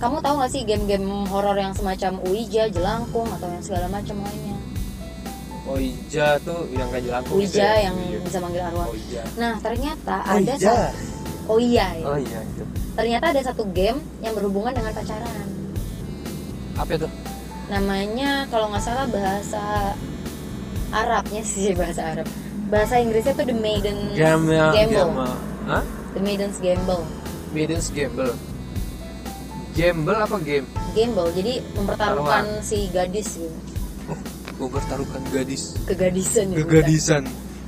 Speaker 2: kamu tahu nggak sih game-game horor yang semacam Ouija, Jelangkung atau yang segala macam lainnya?
Speaker 1: oh Ija tuh yang gak jalan tuh gitu
Speaker 2: Ouija
Speaker 1: ya?
Speaker 2: yang
Speaker 1: Iya.
Speaker 2: bisa manggil arwah.
Speaker 1: oh Ija
Speaker 2: Nah ternyata
Speaker 1: Oh,
Speaker 2: ada
Speaker 1: Ija.
Speaker 2: satu oh iya ya.
Speaker 1: oh iya itu
Speaker 2: ternyata ada satu game yang berhubungan dengan pacaran.
Speaker 1: apa itu
Speaker 2: Hmm, Namanya kalau nggak salah bahasa Arabnya sih bahasa Arab. Bahasa Inggrisnya tuh The Maiden's
Speaker 1: Gamel
Speaker 2: Gamble.
Speaker 1: Gamel Hah?
Speaker 2: The Maiden's Gamble.
Speaker 1: Maiden's Gamble Gamble apa game?
Speaker 2: Gamble. Jadi mempertaruhkan si gadis gitu.
Speaker 1: Gue bertaruhkan gadis
Speaker 2: Kegadisan ya, bukan?
Speaker 1: Kegadisan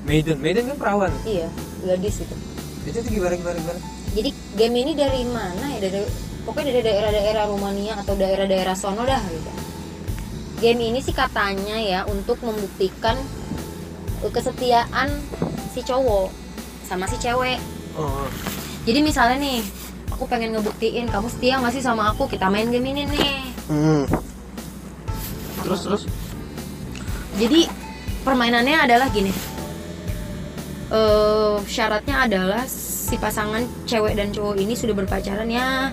Speaker 1: Maiden, Maiden kan perawan
Speaker 2: Iya, gadis gitu.
Speaker 1: Itu tuh gimana gimana gimana
Speaker 2: Jadi game ini dari mana ya? Dari pokoknya dari daerah-daerah Rumania atau daerah-daerah sono dah gitu. Game ini sih katanya ya untuk membuktikan kesetiaan si cowok sama si cewek.
Speaker 1: Oh,
Speaker 2: jadi misalnya nih aku pengen ngebuktiin kamu setia nggak sih sama aku kita main game ini nih
Speaker 3: Hmm.
Speaker 1: terus terus
Speaker 2: jadi permainannya adalah gini Eh, syaratnya adalah si pasangan cewek dan cowok ini sudah berpacaran ya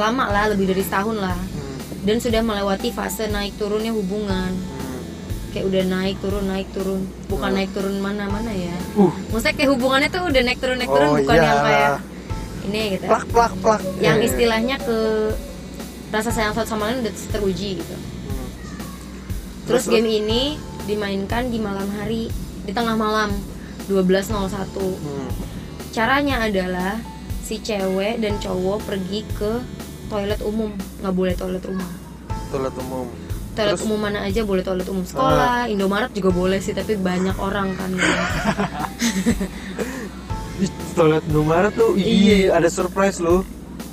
Speaker 2: lama lah lebih dari setahun lah
Speaker 1: Hmm,
Speaker 2: dan sudah melewati fase naik turunnya hubungan
Speaker 1: hmm.
Speaker 2: kayak udah naik turun naik turun
Speaker 3: Oh.
Speaker 2: bukan
Speaker 1: Hmm.
Speaker 2: naik turun mana mana ya
Speaker 3: Hmm.
Speaker 1: uh
Speaker 2: maksudnya kayak hubungannya tuh udah naik turun naik turun
Speaker 3: Oh,
Speaker 2: bukan
Speaker 3: iya.
Speaker 2: yang kayak ini gitu
Speaker 3: plak plak plak
Speaker 2: yang
Speaker 1: Iya, iya.
Speaker 2: istilahnya ke rasa sayang satu sama lain udah teruji gitu
Speaker 1: hmm. Terus,
Speaker 2: Terus game ini dimainkan di malam hari, di tengah malam 12.01.
Speaker 1: Hmm.
Speaker 2: Caranya adalah si cewek dan cowok pergi ke toilet umum, nggak boleh toilet rumah.
Speaker 1: toilet umum
Speaker 2: Toilet
Speaker 1: Terus? Ah.
Speaker 2: umum mana aja boleh toilet umum sekolah, Indomaret juga boleh sih, tapi banyak orang kan.
Speaker 1: Ih, toilet Indomaret tuh iya ada surprise loh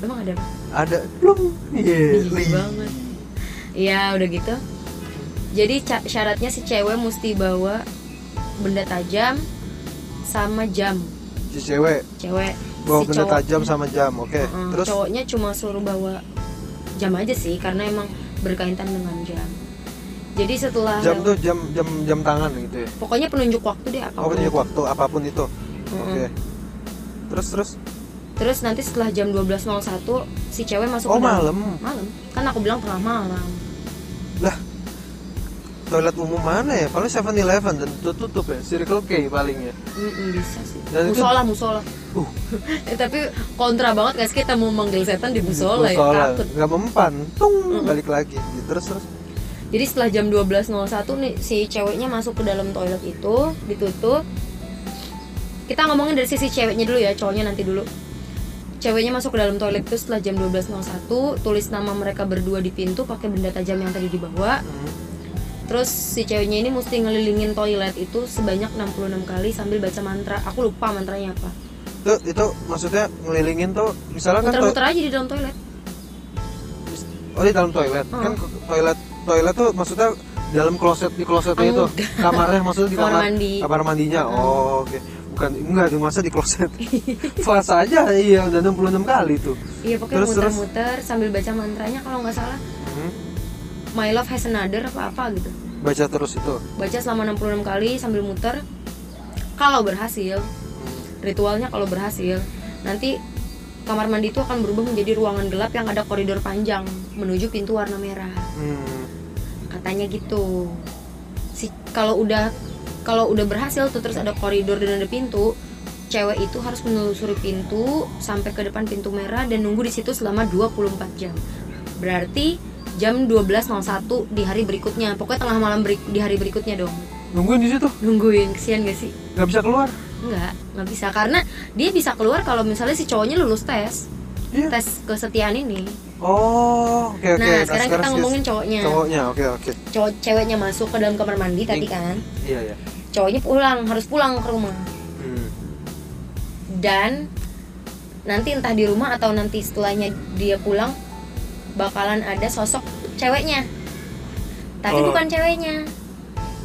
Speaker 2: Emang ada? apa?
Speaker 3: ada plum iya
Speaker 2: Jijik
Speaker 3: li.
Speaker 2: banget. Iya, udah gitu. Jadi ca- syaratnya si cewek mesti bawa benda tajam sama jam
Speaker 3: si cewek
Speaker 2: cewek
Speaker 3: bawa
Speaker 2: si
Speaker 3: benda
Speaker 2: cowok-
Speaker 3: tajam sama jam oke
Speaker 2: Heeh,
Speaker 3: terus
Speaker 2: cowoknya cuma suruh bawa jam aja sih karena emang berkaitan dengan jam jadi setelah
Speaker 3: jam tuh jam jam jam tangan gitu ya
Speaker 2: pokoknya penunjuk waktu deh apa
Speaker 3: oh punya waktu apapun itu
Speaker 2: Mm-mm.
Speaker 3: oke terus terus
Speaker 2: terus nanti setelah jam 12.01 si cewek masuk
Speaker 3: oh
Speaker 2: ke dalam-
Speaker 3: malam
Speaker 2: malam kan aku bilang tengah malam
Speaker 3: lah toilet umum mana ya paling 7 Eleven dan tutup tutup ya Circle K paling ya
Speaker 2: Mm-mm, bisa sih
Speaker 3: Dan itu-
Speaker 2: musola musola
Speaker 3: uh
Speaker 2: Eh, tapi kontra banget guys kita mau manggil setan di musola ya
Speaker 3: musola.
Speaker 2: takut
Speaker 3: nggak mempan tung balik lagi Gitu, terus terus
Speaker 2: Jadi setelah jam 12.01 nih si ceweknya masuk ke dalam toilet itu, ditutup. Kita ngomongin dari sisi ceweknya dulu ya, cowoknya nanti dulu. Ceweknya masuk ke dalam toilet itu setelah jam 12.01, tulis nama mereka berdua di pintu pakai benda tajam yang tadi dibawa.
Speaker 3: Hmm.
Speaker 2: Terus si ceweknya ini mesti ngelilingin toilet itu sebanyak 66 kali sambil baca mantra. Aku lupa mantranya apa.
Speaker 3: itu itu maksudnya ngelilingin tuh misalnya kan to-
Speaker 2: Muter-muter aja di dalam toilet.
Speaker 3: oh di dalam toilet
Speaker 2: Hmm.
Speaker 3: kan ke- toilet toilet tuh maksudnya dalam kloset di klosetnya itu kamarnya maksudnya di
Speaker 2: Kamar
Speaker 3: kamar
Speaker 2: mandi.
Speaker 3: kamar mandinya oh oke bukan enggak di masa di kloset fase aja iya udah 66 kali tuh
Speaker 2: Iya pokoknya
Speaker 3: Terus, terus.
Speaker 2: muter-muter sambil baca mantranya kalau nggak salah
Speaker 3: Hmm.
Speaker 2: My love has another apa-apa gitu.
Speaker 3: baca terus itu
Speaker 2: baca selama 66 kali sambil muter kalau berhasil ritualnya kalau berhasil nanti kamar mandi itu akan berubah menjadi ruangan gelap yang ada koridor panjang menuju pintu warna merah
Speaker 3: Hmm.
Speaker 2: katanya gitu si kalau udah kalau udah berhasil tuh terus ada koridor dan ada pintu cewek itu harus menelusuri pintu sampai ke depan pintu merah dan nunggu di situ selama 24 jam berarti jam 12.01 di hari berikutnya pokoknya tengah malam beri- di hari berikutnya dong
Speaker 3: nungguin di situ
Speaker 2: nungguin kesian gak sih
Speaker 3: nggak bisa keluar
Speaker 2: nggak nggak bisa karena dia bisa keluar kalau misalnya si cowoknya lulus tes
Speaker 3: iya
Speaker 2: tes kesetiaan ini
Speaker 3: oh oke oke
Speaker 2: nah sekarang, kita ngomongin cowoknya
Speaker 3: cowoknya oke oke
Speaker 2: cowok ceweknya masuk ke dalam kamar mandi tadi kan
Speaker 3: iya iya
Speaker 2: cowoknya pulang harus pulang ke rumah
Speaker 3: Hmm.
Speaker 2: dan nanti entah di rumah atau nanti setelahnya dia pulang bakalan ada sosok ceweknya tapi
Speaker 3: Oh.
Speaker 2: bukan ceweknya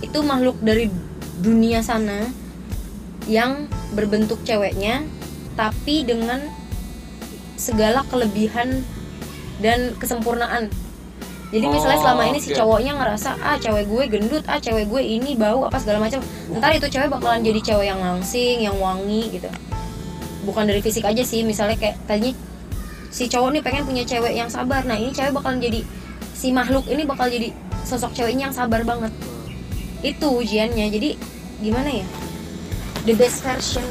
Speaker 2: itu makhluk dari dunia sana yang berbentuk ceweknya tapi dengan segala kelebihan dan kesempurnaan jadi misalnya
Speaker 1: Oh,
Speaker 2: selama ini si
Speaker 1: oke.
Speaker 2: cowoknya ngerasa ah cewek gue gendut ah cewek gue ini bau apa segala macam ntar itu cewek bakalan jadi cewek yang langsing yang wangi gitu bukan dari fisik aja sih misalnya kayak tadinya si cowok nih pengen punya cewek yang sabar nah ini cewek bakalan jadi si makhluk ini bakal jadi sosok ceweknya yang sabar banget itu ujiannya jadi gimana ya the best version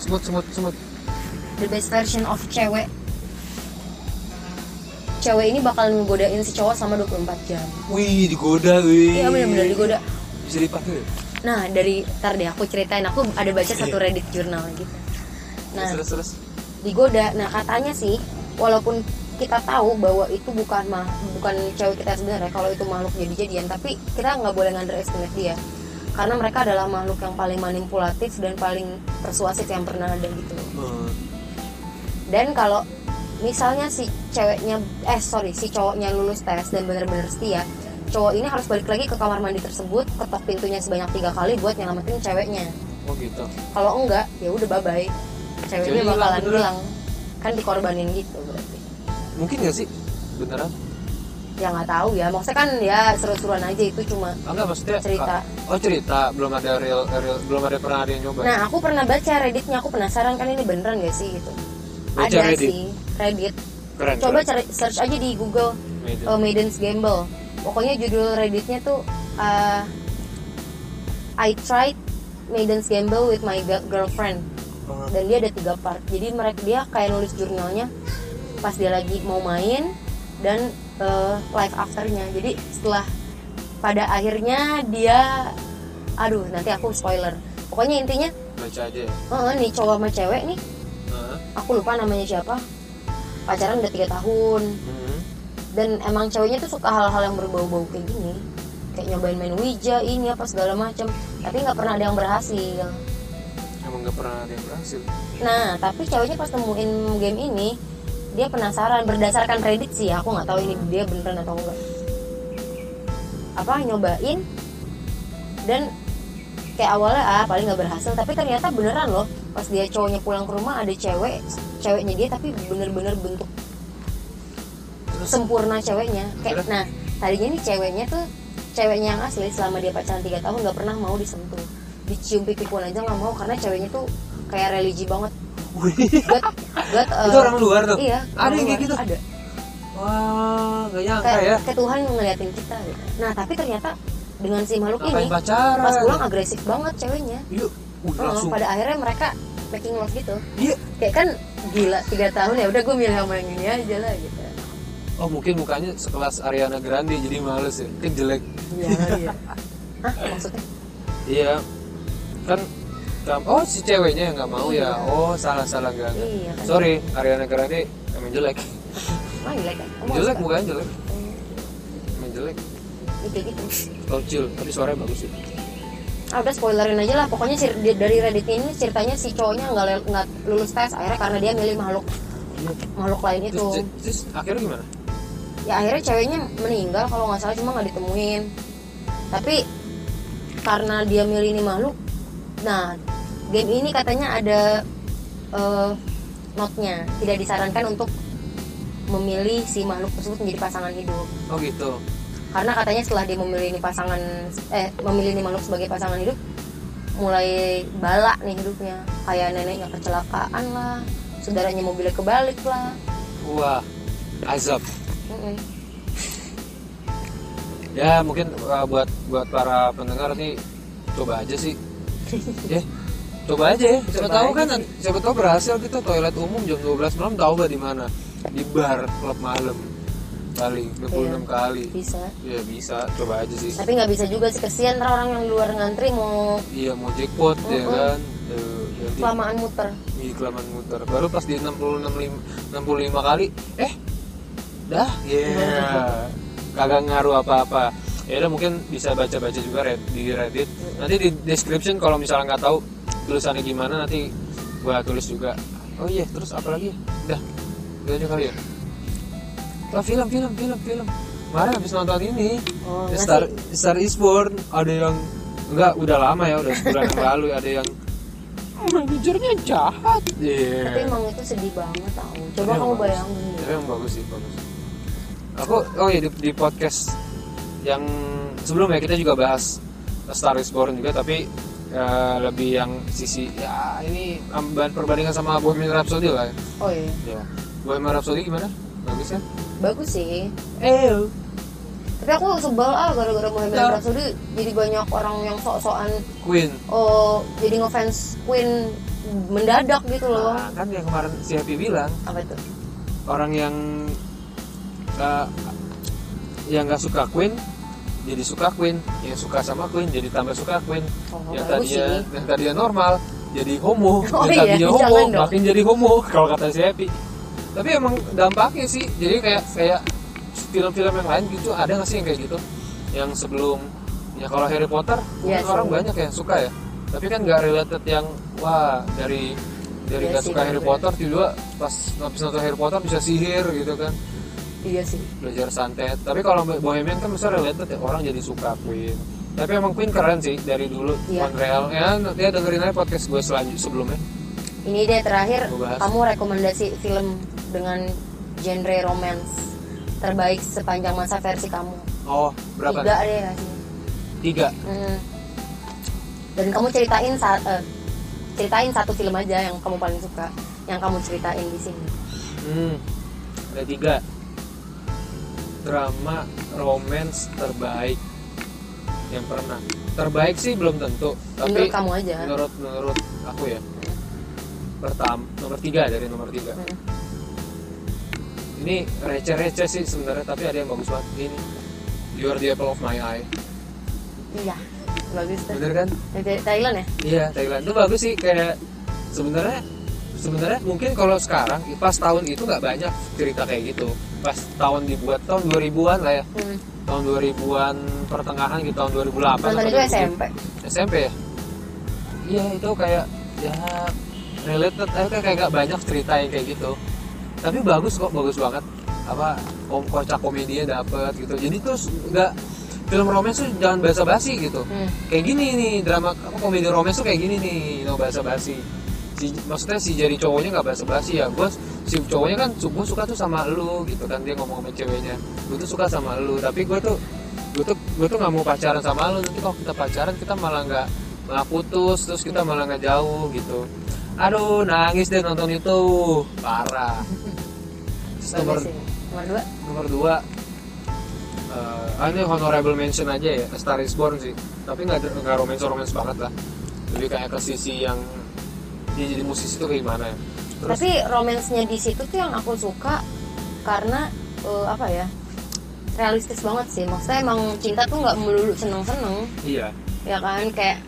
Speaker 1: semut semut semut
Speaker 2: the best version of cewek cewek ini bakal ngegodain si cowok sama 24 jam
Speaker 1: wih digoda wih
Speaker 2: iya benar-benar digoda
Speaker 1: bisa dipakai
Speaker 2: nah dari ntar deh aku ceritain aku ada baca satu reddit jurnal gitu nah
Speaker 1: terus terus
Speaker 2: digoda. Nah katanya sih, walaupun kita tahu bahwa itu bukan mah bukan cewek kita sebenarnya kalau itu makhluk jadi-jadian, tapi kita nggak boleh underestimate dia karena mereka adalah makhluk yang paling manipulatif dan paling persuasif yang pernah ada gitu.
Speaker 1: Hmm.
Speaker 2: Dan kalau misalnya si ceweknya eh sorry si cowoknya lulus tes dan benar-benar setia, cowok ini harus balik lagi ke kamar mandi tersebut, ketok pintunya sebanyak tiga kali buat nyelamatin ceweknya.
Speaker 1: oh gitu
Speaker 2: Kalau enggak, ya udah bye bye. ceweknya
Speaker 1: Ceweknya
Speaker 2: bakalan
Speaker 1: hilang,
Speaker 2: hilang kan dikorbanin gitu berarti
Speaker 1: mungkin nggak sih beneran
Speaker 2: ya nggak tahu ya maksudnya kan ya seru-seruan aja itu cuma
Speaker 1: Ah, Enggak maksudnya
Speaker 2: Cerita.
Speaker 1: ah, oh cerita belum ada real, real belum ada pernah ada yang nyoba
Speaker 2: nah aku pernah baca redditnya aku penasaran kan ini beneran gak sih gitu
Speaker 1: Baca
Speaker 2: ada
Speaker 1: Reddit?
Speaker 2: sih reddit
Speaker 1: keren
Speaker 2: coba
Speaker 1: keren.
Speaker 2: cari search aja di google
Speaker 1: Meja.
Speaker 2: uh, Maiden's Gamble pokoknya judul redditnya tuh uh, I tried Maiden's Gamble with my gu- girlfriend
Speaker 1: Oh,
Speaker 2: dan dia ada tiga part jadi mereka dia kayak nulis jurnalnya pas dia lagi mau main dan eh, live afternya jadi setelah pada akhirnya dia aduh nanti aku spoiler pokoknya intinya
Speaker 1: baca aja ya
Speaker 2: eh, nih cowok sama cewek nih
Speaker 1: Heeh.
Speaker 2: aku lupa namanya siapa pacaran udah tiga tahun
Speaker 1: Mhm.
Speaker 2: dan emang ceweknya tuh suka hal-hal yang berbau-bau kayak gini kayak nyobain main Ouija ini apa segala macam tapi nggak pernah ada yang berhasil
Speaker 1: emang nggak pernah ada yang berhasil
Speaker 2: Nah, tapi ceweknya pas nemuin game ini, dia penasaran berdasarkan prediksi ya. Aku nggak tahu ini dia beneran atau enggak. Apa nyobain dan kayak awalnya ah paling nggak berhasil, tapi ternyata beneran loh. Pas dia cowoknya pulang ke rumah ada cewek, ceweknya dia tapi bener-bener bentuk
Speaker 1: terus
Speaker 2: sempurna ceweknya. Kayak
Speaker 1: Terus?
Speaker 2: nah, tadinya nih ceweknya tuh ceweknya yang asli selama dia pacaran tiga tahun nggak pernah mau disentuh dicium pipi pun aja nggak mau karena ceweknya tuh kayak religi banget
Speaker 1: Wih,
Speaker 2: buat buat eh,
Speaker 1: itu orang luar tuh
Speaker 2: iya
Speaker 1: ada yang kayak
Speaker 2: orang
Speaker 1: gitu
Speaker 2: luar, ada
Speaker 1: wah nggak nyangka
Speaker 2: kayak,
Speaker 1: ya
Speaker 2: kayak Tuhan ngeliatin kita gitu. nah tapi ternyata dengan si makhluk
Speaker 1: ngapain
Speaker 2: ini
Speaker 1: pacaran
Speaker 2: pas pulang agresif banget ceweknya
Speaker 1: yuk Wih,
Speaker 2: Heeh,
Speaker 1: Oh, langsung
Speaker 2: pada akhirnya mereka making love gitu
Speaker 1: iya
Speaker 2: kayak kan gila tiga tahun ya udah gue milih sama yang ini aja lah gitu
Speaker 1: oh mungkin mukanya sekelas Ariana Grande jadi males ya kan jelek
Speaker 2: iya iya Hah, maksudnya
Speaker 1: iya kan kan- oh si ceweknya yang nggak mau ya oh salah salah nggak nggak.
Speaker 2: Iya, kan.
Speaker 1: sorry Ariana Grande emang jelek
Speaker 2: ah jelek kan
Speaker 1: jelek
Speaker 2: Kamu nggak suka?
Speaker 1: mukanya jelek emang jelek
Speaker 2: Iya, kayak gitu
Speaker 1: kecil tapi suaranya bagus sih
Speaker 2: ah udah spoilerin aja lah pokoknya cer- di- dari Reddit ini ceritanya si cowoknya nggak le- nggak lulus tes akhirnya karena dia milih makhluk makhluk lain itu
Speaker 1: terus, terus akhirnya gimana
Speaker 2: ya akhirnya ceweknya meninggal kalau nggak salah cuma nggak ditemuin tapi karena dia milih ini makhluk nah game ini katanya ada eh, notnya tidak disarankan untuk memilih si makhluk tersebut menjadi pasangan hidup
Speaker 1: oh gitu
Speaker 2: karena katanya setelah dia memilih ini pasangan eh memilih ini makhluk sebagai pasangan hidup mulai balak nih hidupnya kayak neneknya kecelakaan lah saudaranya mobilnya kebalik lah
Speaker 1: wah azab
Speaker 2: Mm-mm.
Speaker 1: ya mungkin uh, buat buat para pendengar nih coba aja sih ya coba aja ya. siapa
Speaker 2: Coba
Speaker 1: tahu
Speaker 2: aja
Speaker 1: kan siapa tahu berhasil kita toilet umum jam 12 malam tahu gak di mana di bar klub malam kali 26 kali
Speaker 2: Iya. bisa
Speaker 1: ya bisa coba aja sih
Speaker 2: tapi nggak bisa juga sih kesian ntar orang yang di luar ngantri mau
Speaker 1: iya mau jackpot ya
Speaker 2: Mm-mm.
Speaker 1: kan Eh, nanti
Speaker 2: kelamaan muter
Speaker 1: di kelamaan muter baru pas di 66 lim- 65 kali eh dah ya kagak ngaruh apa-apa ya udah mungkin bisa baca-baca juga Red- di Reddit nanti di description kalau misalnya nggak tahu tulisannya gimana nanti gua tulis juga oh iya terus apa lagi dah udah aja kali ya oh, film film film film kemarin habis nonton ini
Speaker 2: Oh,
Speaker 1: Star Star is Born ada yang enggak udah lama ya udah sebulan yang lalu ada yang manajernya jahat iya
Speaker 2: tapi emang itu sedih banget tau coba
Speaker 1: Tapi
Speaker 2: kamu
Speaker 1: emang
Speaker 2: bayangin
Speaker 1: bagus.
Speaker 2: deh.
Speaker 1: tapi emang bagus sih bagus aku oh iya di, di podcast yang sebelumnya kita juga bahas Star is Born juga tapi eh, lebih yang sisi ya ini amban- perbandingan sama Bohemian Rhapsody lah
Speaker 2: oh iya
Speaker 1: ya Bohemian Rhapsody gimana bagus kan
Speaker 2: bagus sih
Speaker 1: eh
Speaker 2: tapi aku sebel ah gara-gara
Speaker 1: Ya.
Speaker 2: Bohemian Rhapsody jadi banyak orang yang sok-sokan
Speaker 1: Queen
Speaker 2: oh jadi ngefans Queen mendadak gitu loh
Speaker 1: Nah, kan yang kemarin si Happy bilang
Speaker 2: apa tuh
Speaker 1: orang yang uh, yang nggak suka Queen jadi suka Queen yang suka sama Queen jadi tambah suka Queen
Speaker 2: Oh,
Speaker 1: yang
Speaker 2: bagus
Speaker 1: tadinya
Speaker 2: sih.
Speaker 1: yang tadinya normal jadi homo
Speaker 2: Oh
Speaker 1: yang
Speaker 2: iya,
Speaker 1: tadinya homo
Speaker 2: jangan dong.
Speaker 1: makin jadi homo kalau kata si Happy tapi emang dampaknya sih jadi kayak kayak film-film yang lain gitu ada nggak sih yang kayak gitu yang sebelum ya kalau Harry Potter
Speaker 2: Iya
Speaker 1: mungkin orang
Speaker 2: sih.
Speaker 1: banyak yang suka ya tapi kan nggak related yang wah dari dari
Speaker 2: Iya
Speaker 1: nggak
Speaker 2: sih,
Speaker 1: suka Harry
Speaker 2: bener-bener.
Speaker 1: Potter tiba pas habis nonton Harry Potter bisa sihir gitu kan
Speaker 2: iya sih
Speaker 1: belajar santet tapi kalau Bohemian kan bisa related ya orang jadi suka Queen tapi emang Queen keren sih dari dulu
Speaker 2: Iya.
Speaker 1: Montreal ya dia dengerin aja podcast gue selanjutnya sebelumnya
Speaker 2: ini deh terakhir
Speaker 1: Gua bahas.
Speaker 2: kamu rekomendasi film dengan genre romance terbaik sepanjang masa versi kamu
Speaker 1: Oh, berapa?
Speaker 2: tiga
Speaker 1: nih?
Speaker 2: deh kasih
Speaker 1: Tiga.
Speaker 2: Hmm. Dan kamu ceritain sa- eh, ceritain satu film aja yang kamu paling suka, yang kamu ceritain di sini.
Speaker 1: Hmm, ada tiga. Drama romance terbaik yang pernah. Terbaik sih belum tentu, tapi
Speaker 2: Menurut kamu ya? aja.
Speaker 1: menurut menurut aku ya. Pertama, nomor tiga dari nomor tiga.
Speaker 2: Hmm.
Speaker 1: Ini receh-receh sih sebenarnya, tapi ada yang bagus banget. Ini You are the apple of my eye.
Speaker 2: Iya, bagus tuh.
Speaker 1: Bener kan?
Speaker 2: Dari Thailand ya?
Speaker 1: Iya Thailand itu bagus sih kayak sebenarnya sebenarnya mungkin kalau sekarang pas tahun itu nggak banyak cerita kayak gitu pas tahun dibuat tahun 2000-an lah ya
Speaker 2: Hmm.
Speaker 1: tahun 2000-an pertengahan gitu tahun 2008
Speaker 2: Nonton
Speaker 1: atau
Speaker 2: itu
Speaker 1: 2007.
Speaker 2: SMP.
Speaker 1: SMP ya iya itu kayak ya related eh, kayak kayak nggak banyak cerita yang kayak gitu tapi bagus kok bagus banget apa kom kocak komedinya dapet gitu jadi tuh nggak film romance tuh jangan basa-basi gitu
Speaker 2: Hmm.
Speaker 1: kayak gini nih drama apa komedi romance tuh kayak gini nih no bahasa basi si, maksudnya si jadi cowoknya nggak bahasa basi ya gue si cowoknya kan gue suka tuh sama lu gitu kan dia ngomong sama ceweknya gue tuh suka sama lu tapi gue tuh gue tuh gue tuh nggak mau pacaran sama lu nanti kalau kita pacaran kita malah nggak malah putus terus kita malah nggak jauh gitu aduh nangis deh nonton itu parah terus nomor
Speaker 2: Bagus Iya sih. Nomor dua.
Speaker 1: nomor dua eh, ah ini honorable mention aja ya A Star Is Born sih tapi nggak nggak romance romance banget lah lebih kayak ke sisi yang dia jadi musisi tuh kayak gimana ya terus
Speaker 2: Tapi romansnya di situ tuh yang aku suka karena eh, apa ya? Realistis banget sih. Maksudnya emang cinta tuh nggak melulu seneng-seneng,
Speaker 1: iya
Speaker 2: ya kan? Kayak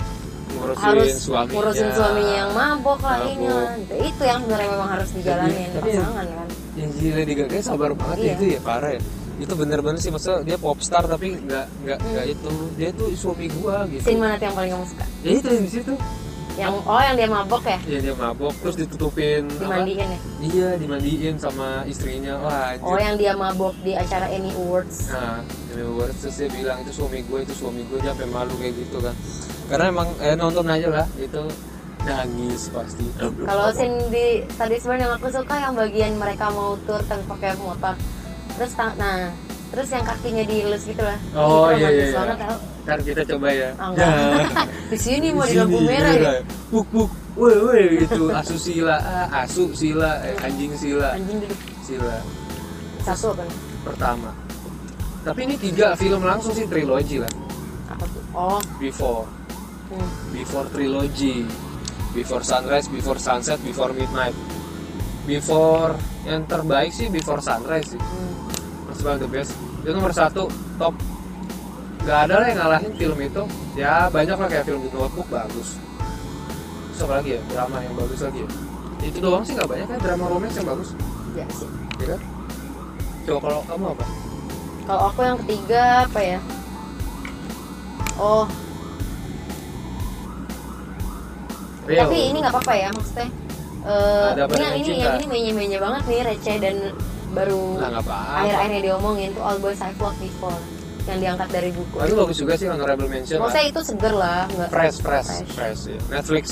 Speaker 1: ngurusin
Speaker 2: harus
Speaker 1: suaminya
Speaker 2: ngurusin suaminya yang mabok lah ini
Speaker 1: Mabok.
Speaker 2: lah. itu yang sebenarnya memang harus dijalanin
Speaker 1: tapi-
Speaker 2: pasangan kan
Speaker 1: yang jadi Lady Gaga sabar banget ya
Speaker 2: Iya.
Speaker 1: itu ya parah ya itu bener-bener sih maksudnya dia popstar tapi nggak nggak
Speaker 2: Hmm.
Speaker 1: nggak itu dia tuh suami gua gitu
Speaker 2: scene mana tuh yang paling kamu suka
Speaker 1: ya itu yang di situ
Speaker 2: yang oh yang dia mabok ya
Speaker 1: ya dia mabok terus ditutupin apa?
Speaker 2: dimandiin ya
Speaker 1: iya dimandiin sama istrinya wah anjir.
Speaker 2: oh yang dia mabok di acara Emmy Awards
Speaker 1: Nah, Jimmy Awards terus dia bilang itu suami gue, itu suami gue dia sampai malu kayak gitu kan. Karena emang eh, nonton aja lah itu nangis pasti.
Speaker 2: kalau scene di tadi sebenarnya yang aku suka yang bagian mereka mau tour tapi pakai motor terus ta- nah terus yang kakinya dielus gitu lah
Speaker 1: Oh
Speaker 2: Itu
Speaker 1: iya iya.
Speaker 2: romantis
Speaker 1: iya.
Speaker 2: banget tau
Speaker 1: Ntar kita coba ya.
Speaker 2: Ah, enggak. di sini mau di lampu
Speaker 1: Sini, iya,
Speaker 2: merah ya
Speaker 1: Puk puk. Woi woi gitu asusila, ah, asu sila, eh, anjing sila,
Speaker 2: anjing duduk
Speaker 1: sila
Speaker 2: satu apa nih?
Speaker 1: pertama. Tapi ini tiga film langsung sih trilogi lah.
Speaker 2: apa tuh oh
Speaker 1: Before,
Speaker 2: hmm.
Speaker 1: Before Trilogy, Before Sunrise, Before Sunset, Before Midnight. Before yang terbaik sih Before Sunrise sih.
Speaker 2: hmm.
Speaker 1: That's about the best. Itu nomor satu top. Gak ada lah yang ngalahin film itu. Ya banyak lah kayak film The Notebook bagus. Terus apa lagi ya drama yang bagus lagi ya. Itu doang sih nggak banyak kan drama romance yang bagus.
Speaker 2: ya sih
Speaker 1: Ya kan? Coba kalau kamu apa?
Speaker 2: Kalau aku yang ketiga apa ya? Oh,
Speaker 1: Rio.
Speaker 2: tapi ini nggak apa-apa ya maksudnya. Eh,
Speaker 1: Ada apa
Speaker 2: ini
Speaker 1: dengan
Speaker 2: yang ini
Speaker 1: cinta?
Speaker 2: yang ini menye-menye banget nih receh dan baru
Speaker 1: Nah, nggak apa-apa.
Speaker 2: akhir-akhirnya diomongin tuh All Boys I've Loved Before yang diangkat dari buku.
Speaker 1: Wah, itu bagus juga sih honorable mention. lah.
Speaker 2: Maksudnya itu seger lah, nggak
Speaker 1: Fresh, fresh, fresh. ya. Netflix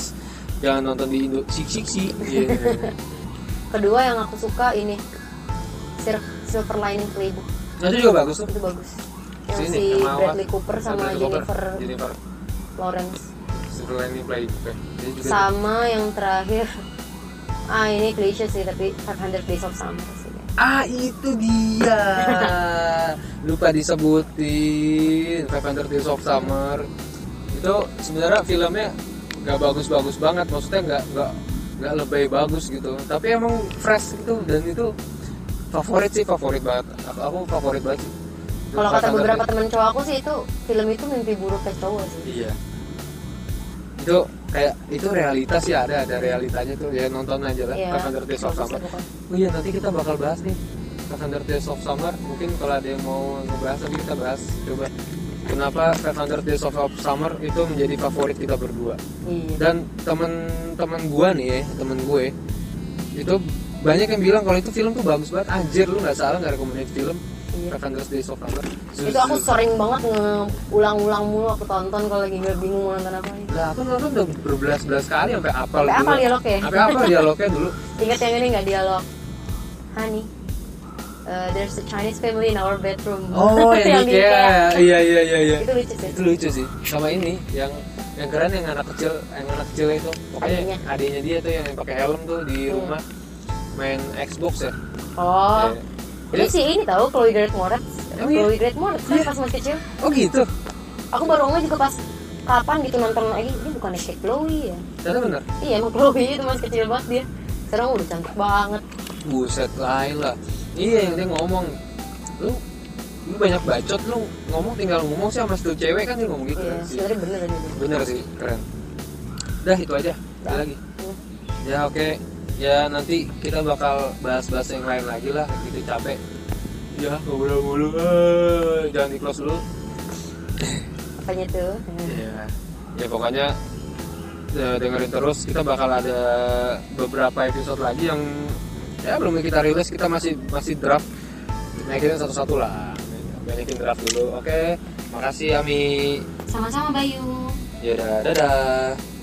Speaker 1: jangan nonton di Indo. Sik sik sik. Iya.
Speaker 2: Kedua yang aku suka ini Sil- Silver Lining Playbook
Speaker 1: Nah, itu juga bagus tuh.
Speaker 2: itu bagus. Yang
Speaker 1: Sini,
Speaker 2: si
Speaker 1: sama apa?
Speaker 2: Bradley Cooper sama
Speaker 1: Bradley Cooper,
Speaker 2: Jennifer
Speaker 1: Jennifer.
Speaker 2: Lawrence.
Speaker 1: Silver Lining Playbook. ya. Dia juga-
Speaker 2: Sama yang terakhir. Ah ini klise sih tapi 500 Days of Summer sih.
Speaker 1: Ah itu dia. Lupa disebutin. Five Hundred Days of Summer. Itu sebenarnya filmnya nggak bagus-bagus banget. Maksudnya nggak nggak nggak lebih bagus gitu. Tapi emang fresh gitu dan itu favorit sih favorit banget. Aku, aku favorit banget sih.
Speaker 2: Kalau kata
Speaker 1: 500
Speaker 2: beberapa
Speaker 1: Days-
Speaker 2: teman cowok aku sih itu film itu mimpi buruk ke cowok sih.
Speaker 1: Iya. Itu kayak itu realitas ya ada ada realitanya tuh ya nonton aja lah.
Speaker 2: Iya.
Speaker 1: Five Hundred Days of
Speaker 2: bagus
Speaker 1: Summer.
Speaker 2: itu kan.
Speaker 1: Oh iya nanti kita bakal bahas nih Calendar Days of Summer Mungkin kalau ada yang mau ngebahas nanti kita bahas Coba kenapa Calendar Days of Summer itu menjadi favorit kita berdua
Speaker 2: Iya.
Speaker 1: Dan temen-temen gua nih ya, temen gue Itu banyak yang bilang kalau itu film tuh bagus banget Anjir lu gak salah gak rekomendasi film
Speaker 2: Iya.
Speaker 1: Rakandas Days of Rakandas. Zu-
Speaker 2: itu aku
Speaker 1: zu-
Speaker 2: sering banget ngeulang-ulang mulu aku tonton kalau lagi nggak bingung mau nonton apa gitu.
Speaker 1: Lah, aku nonton udah berbelas-belas kali sampai apal dulu.
Speaker 2: Sampai apa dialog ya?
Speaker 1: Sampai apal dialognya dulu.
Speaker 2: Ingat yang ini nggak dialog? Honey, uh, there's a Chinese family in our bedroom.
Speaker 1: Oh, yang di Ikea. Iya, iya, iya, iya.
Speaker 2: Itu lucu sih.
Speaker 1: Itu lucu sih. Sama ini yang yang keren yang anak kecil, yang anak kecil itu pokoknya
Speaker 2: Adiknya. Hmm.
Speaker 1: adiknya dia tuh yang pakai helm tuh di rumah main Xbox ya. Iya.
Speaker 2: Oh, itu
Speaker 1: Jadi-
Speaker 2: sih ini tahu Chloe Grace Moretz.
Speaker 1: Oh, iya.
Speaker 2: Chloe Grace Moretz kan pas masih kecil.
Speaker 1: Oh gitu.
Speaker 2: Aku baru ngeh juga pas kapan gitu nonton lagi ini bukan kayak Chloe ya.
Speaker 1: Ternyata bener.
Speaker 2: Iya emang Chloe itu masih kecil banget dia. Sekarang udah cantik banget.
Speaker 1: Buset Laila. Iya yang dia ngomong. Lu lu banyak bacot lu ngomong tinggal ngomong sih sama satu cewek kan dia ngomong gitu
Speaker 2: Iya,
Speaker 1: kan sih.
Speaker 2: sebenarnya bener aja dia.
Speaker 1: Bener sih, keren. Udah itu aja. Ada lagi. Ya oke. Ya nanti kita bakal bahas-bahas yang lain lagi lah. Gitu capek. Ya ngobrol mulu. Eh, jangan di close dulu.
Speaker 2: Apanya tuh? Hmm.
Speaker 1: Ya. Ya pokoknya ya, dengerin terus. Kita bakal ada beberapa episode lagi yang ya belum kita rilis. Kita masih masih draft. Naikin satu-satu lah. Banyakin draft dulu. Oke. Makasih Ami.
Speaker 2: Sama-sama Bayu.
Speaker 1: Ya dadah.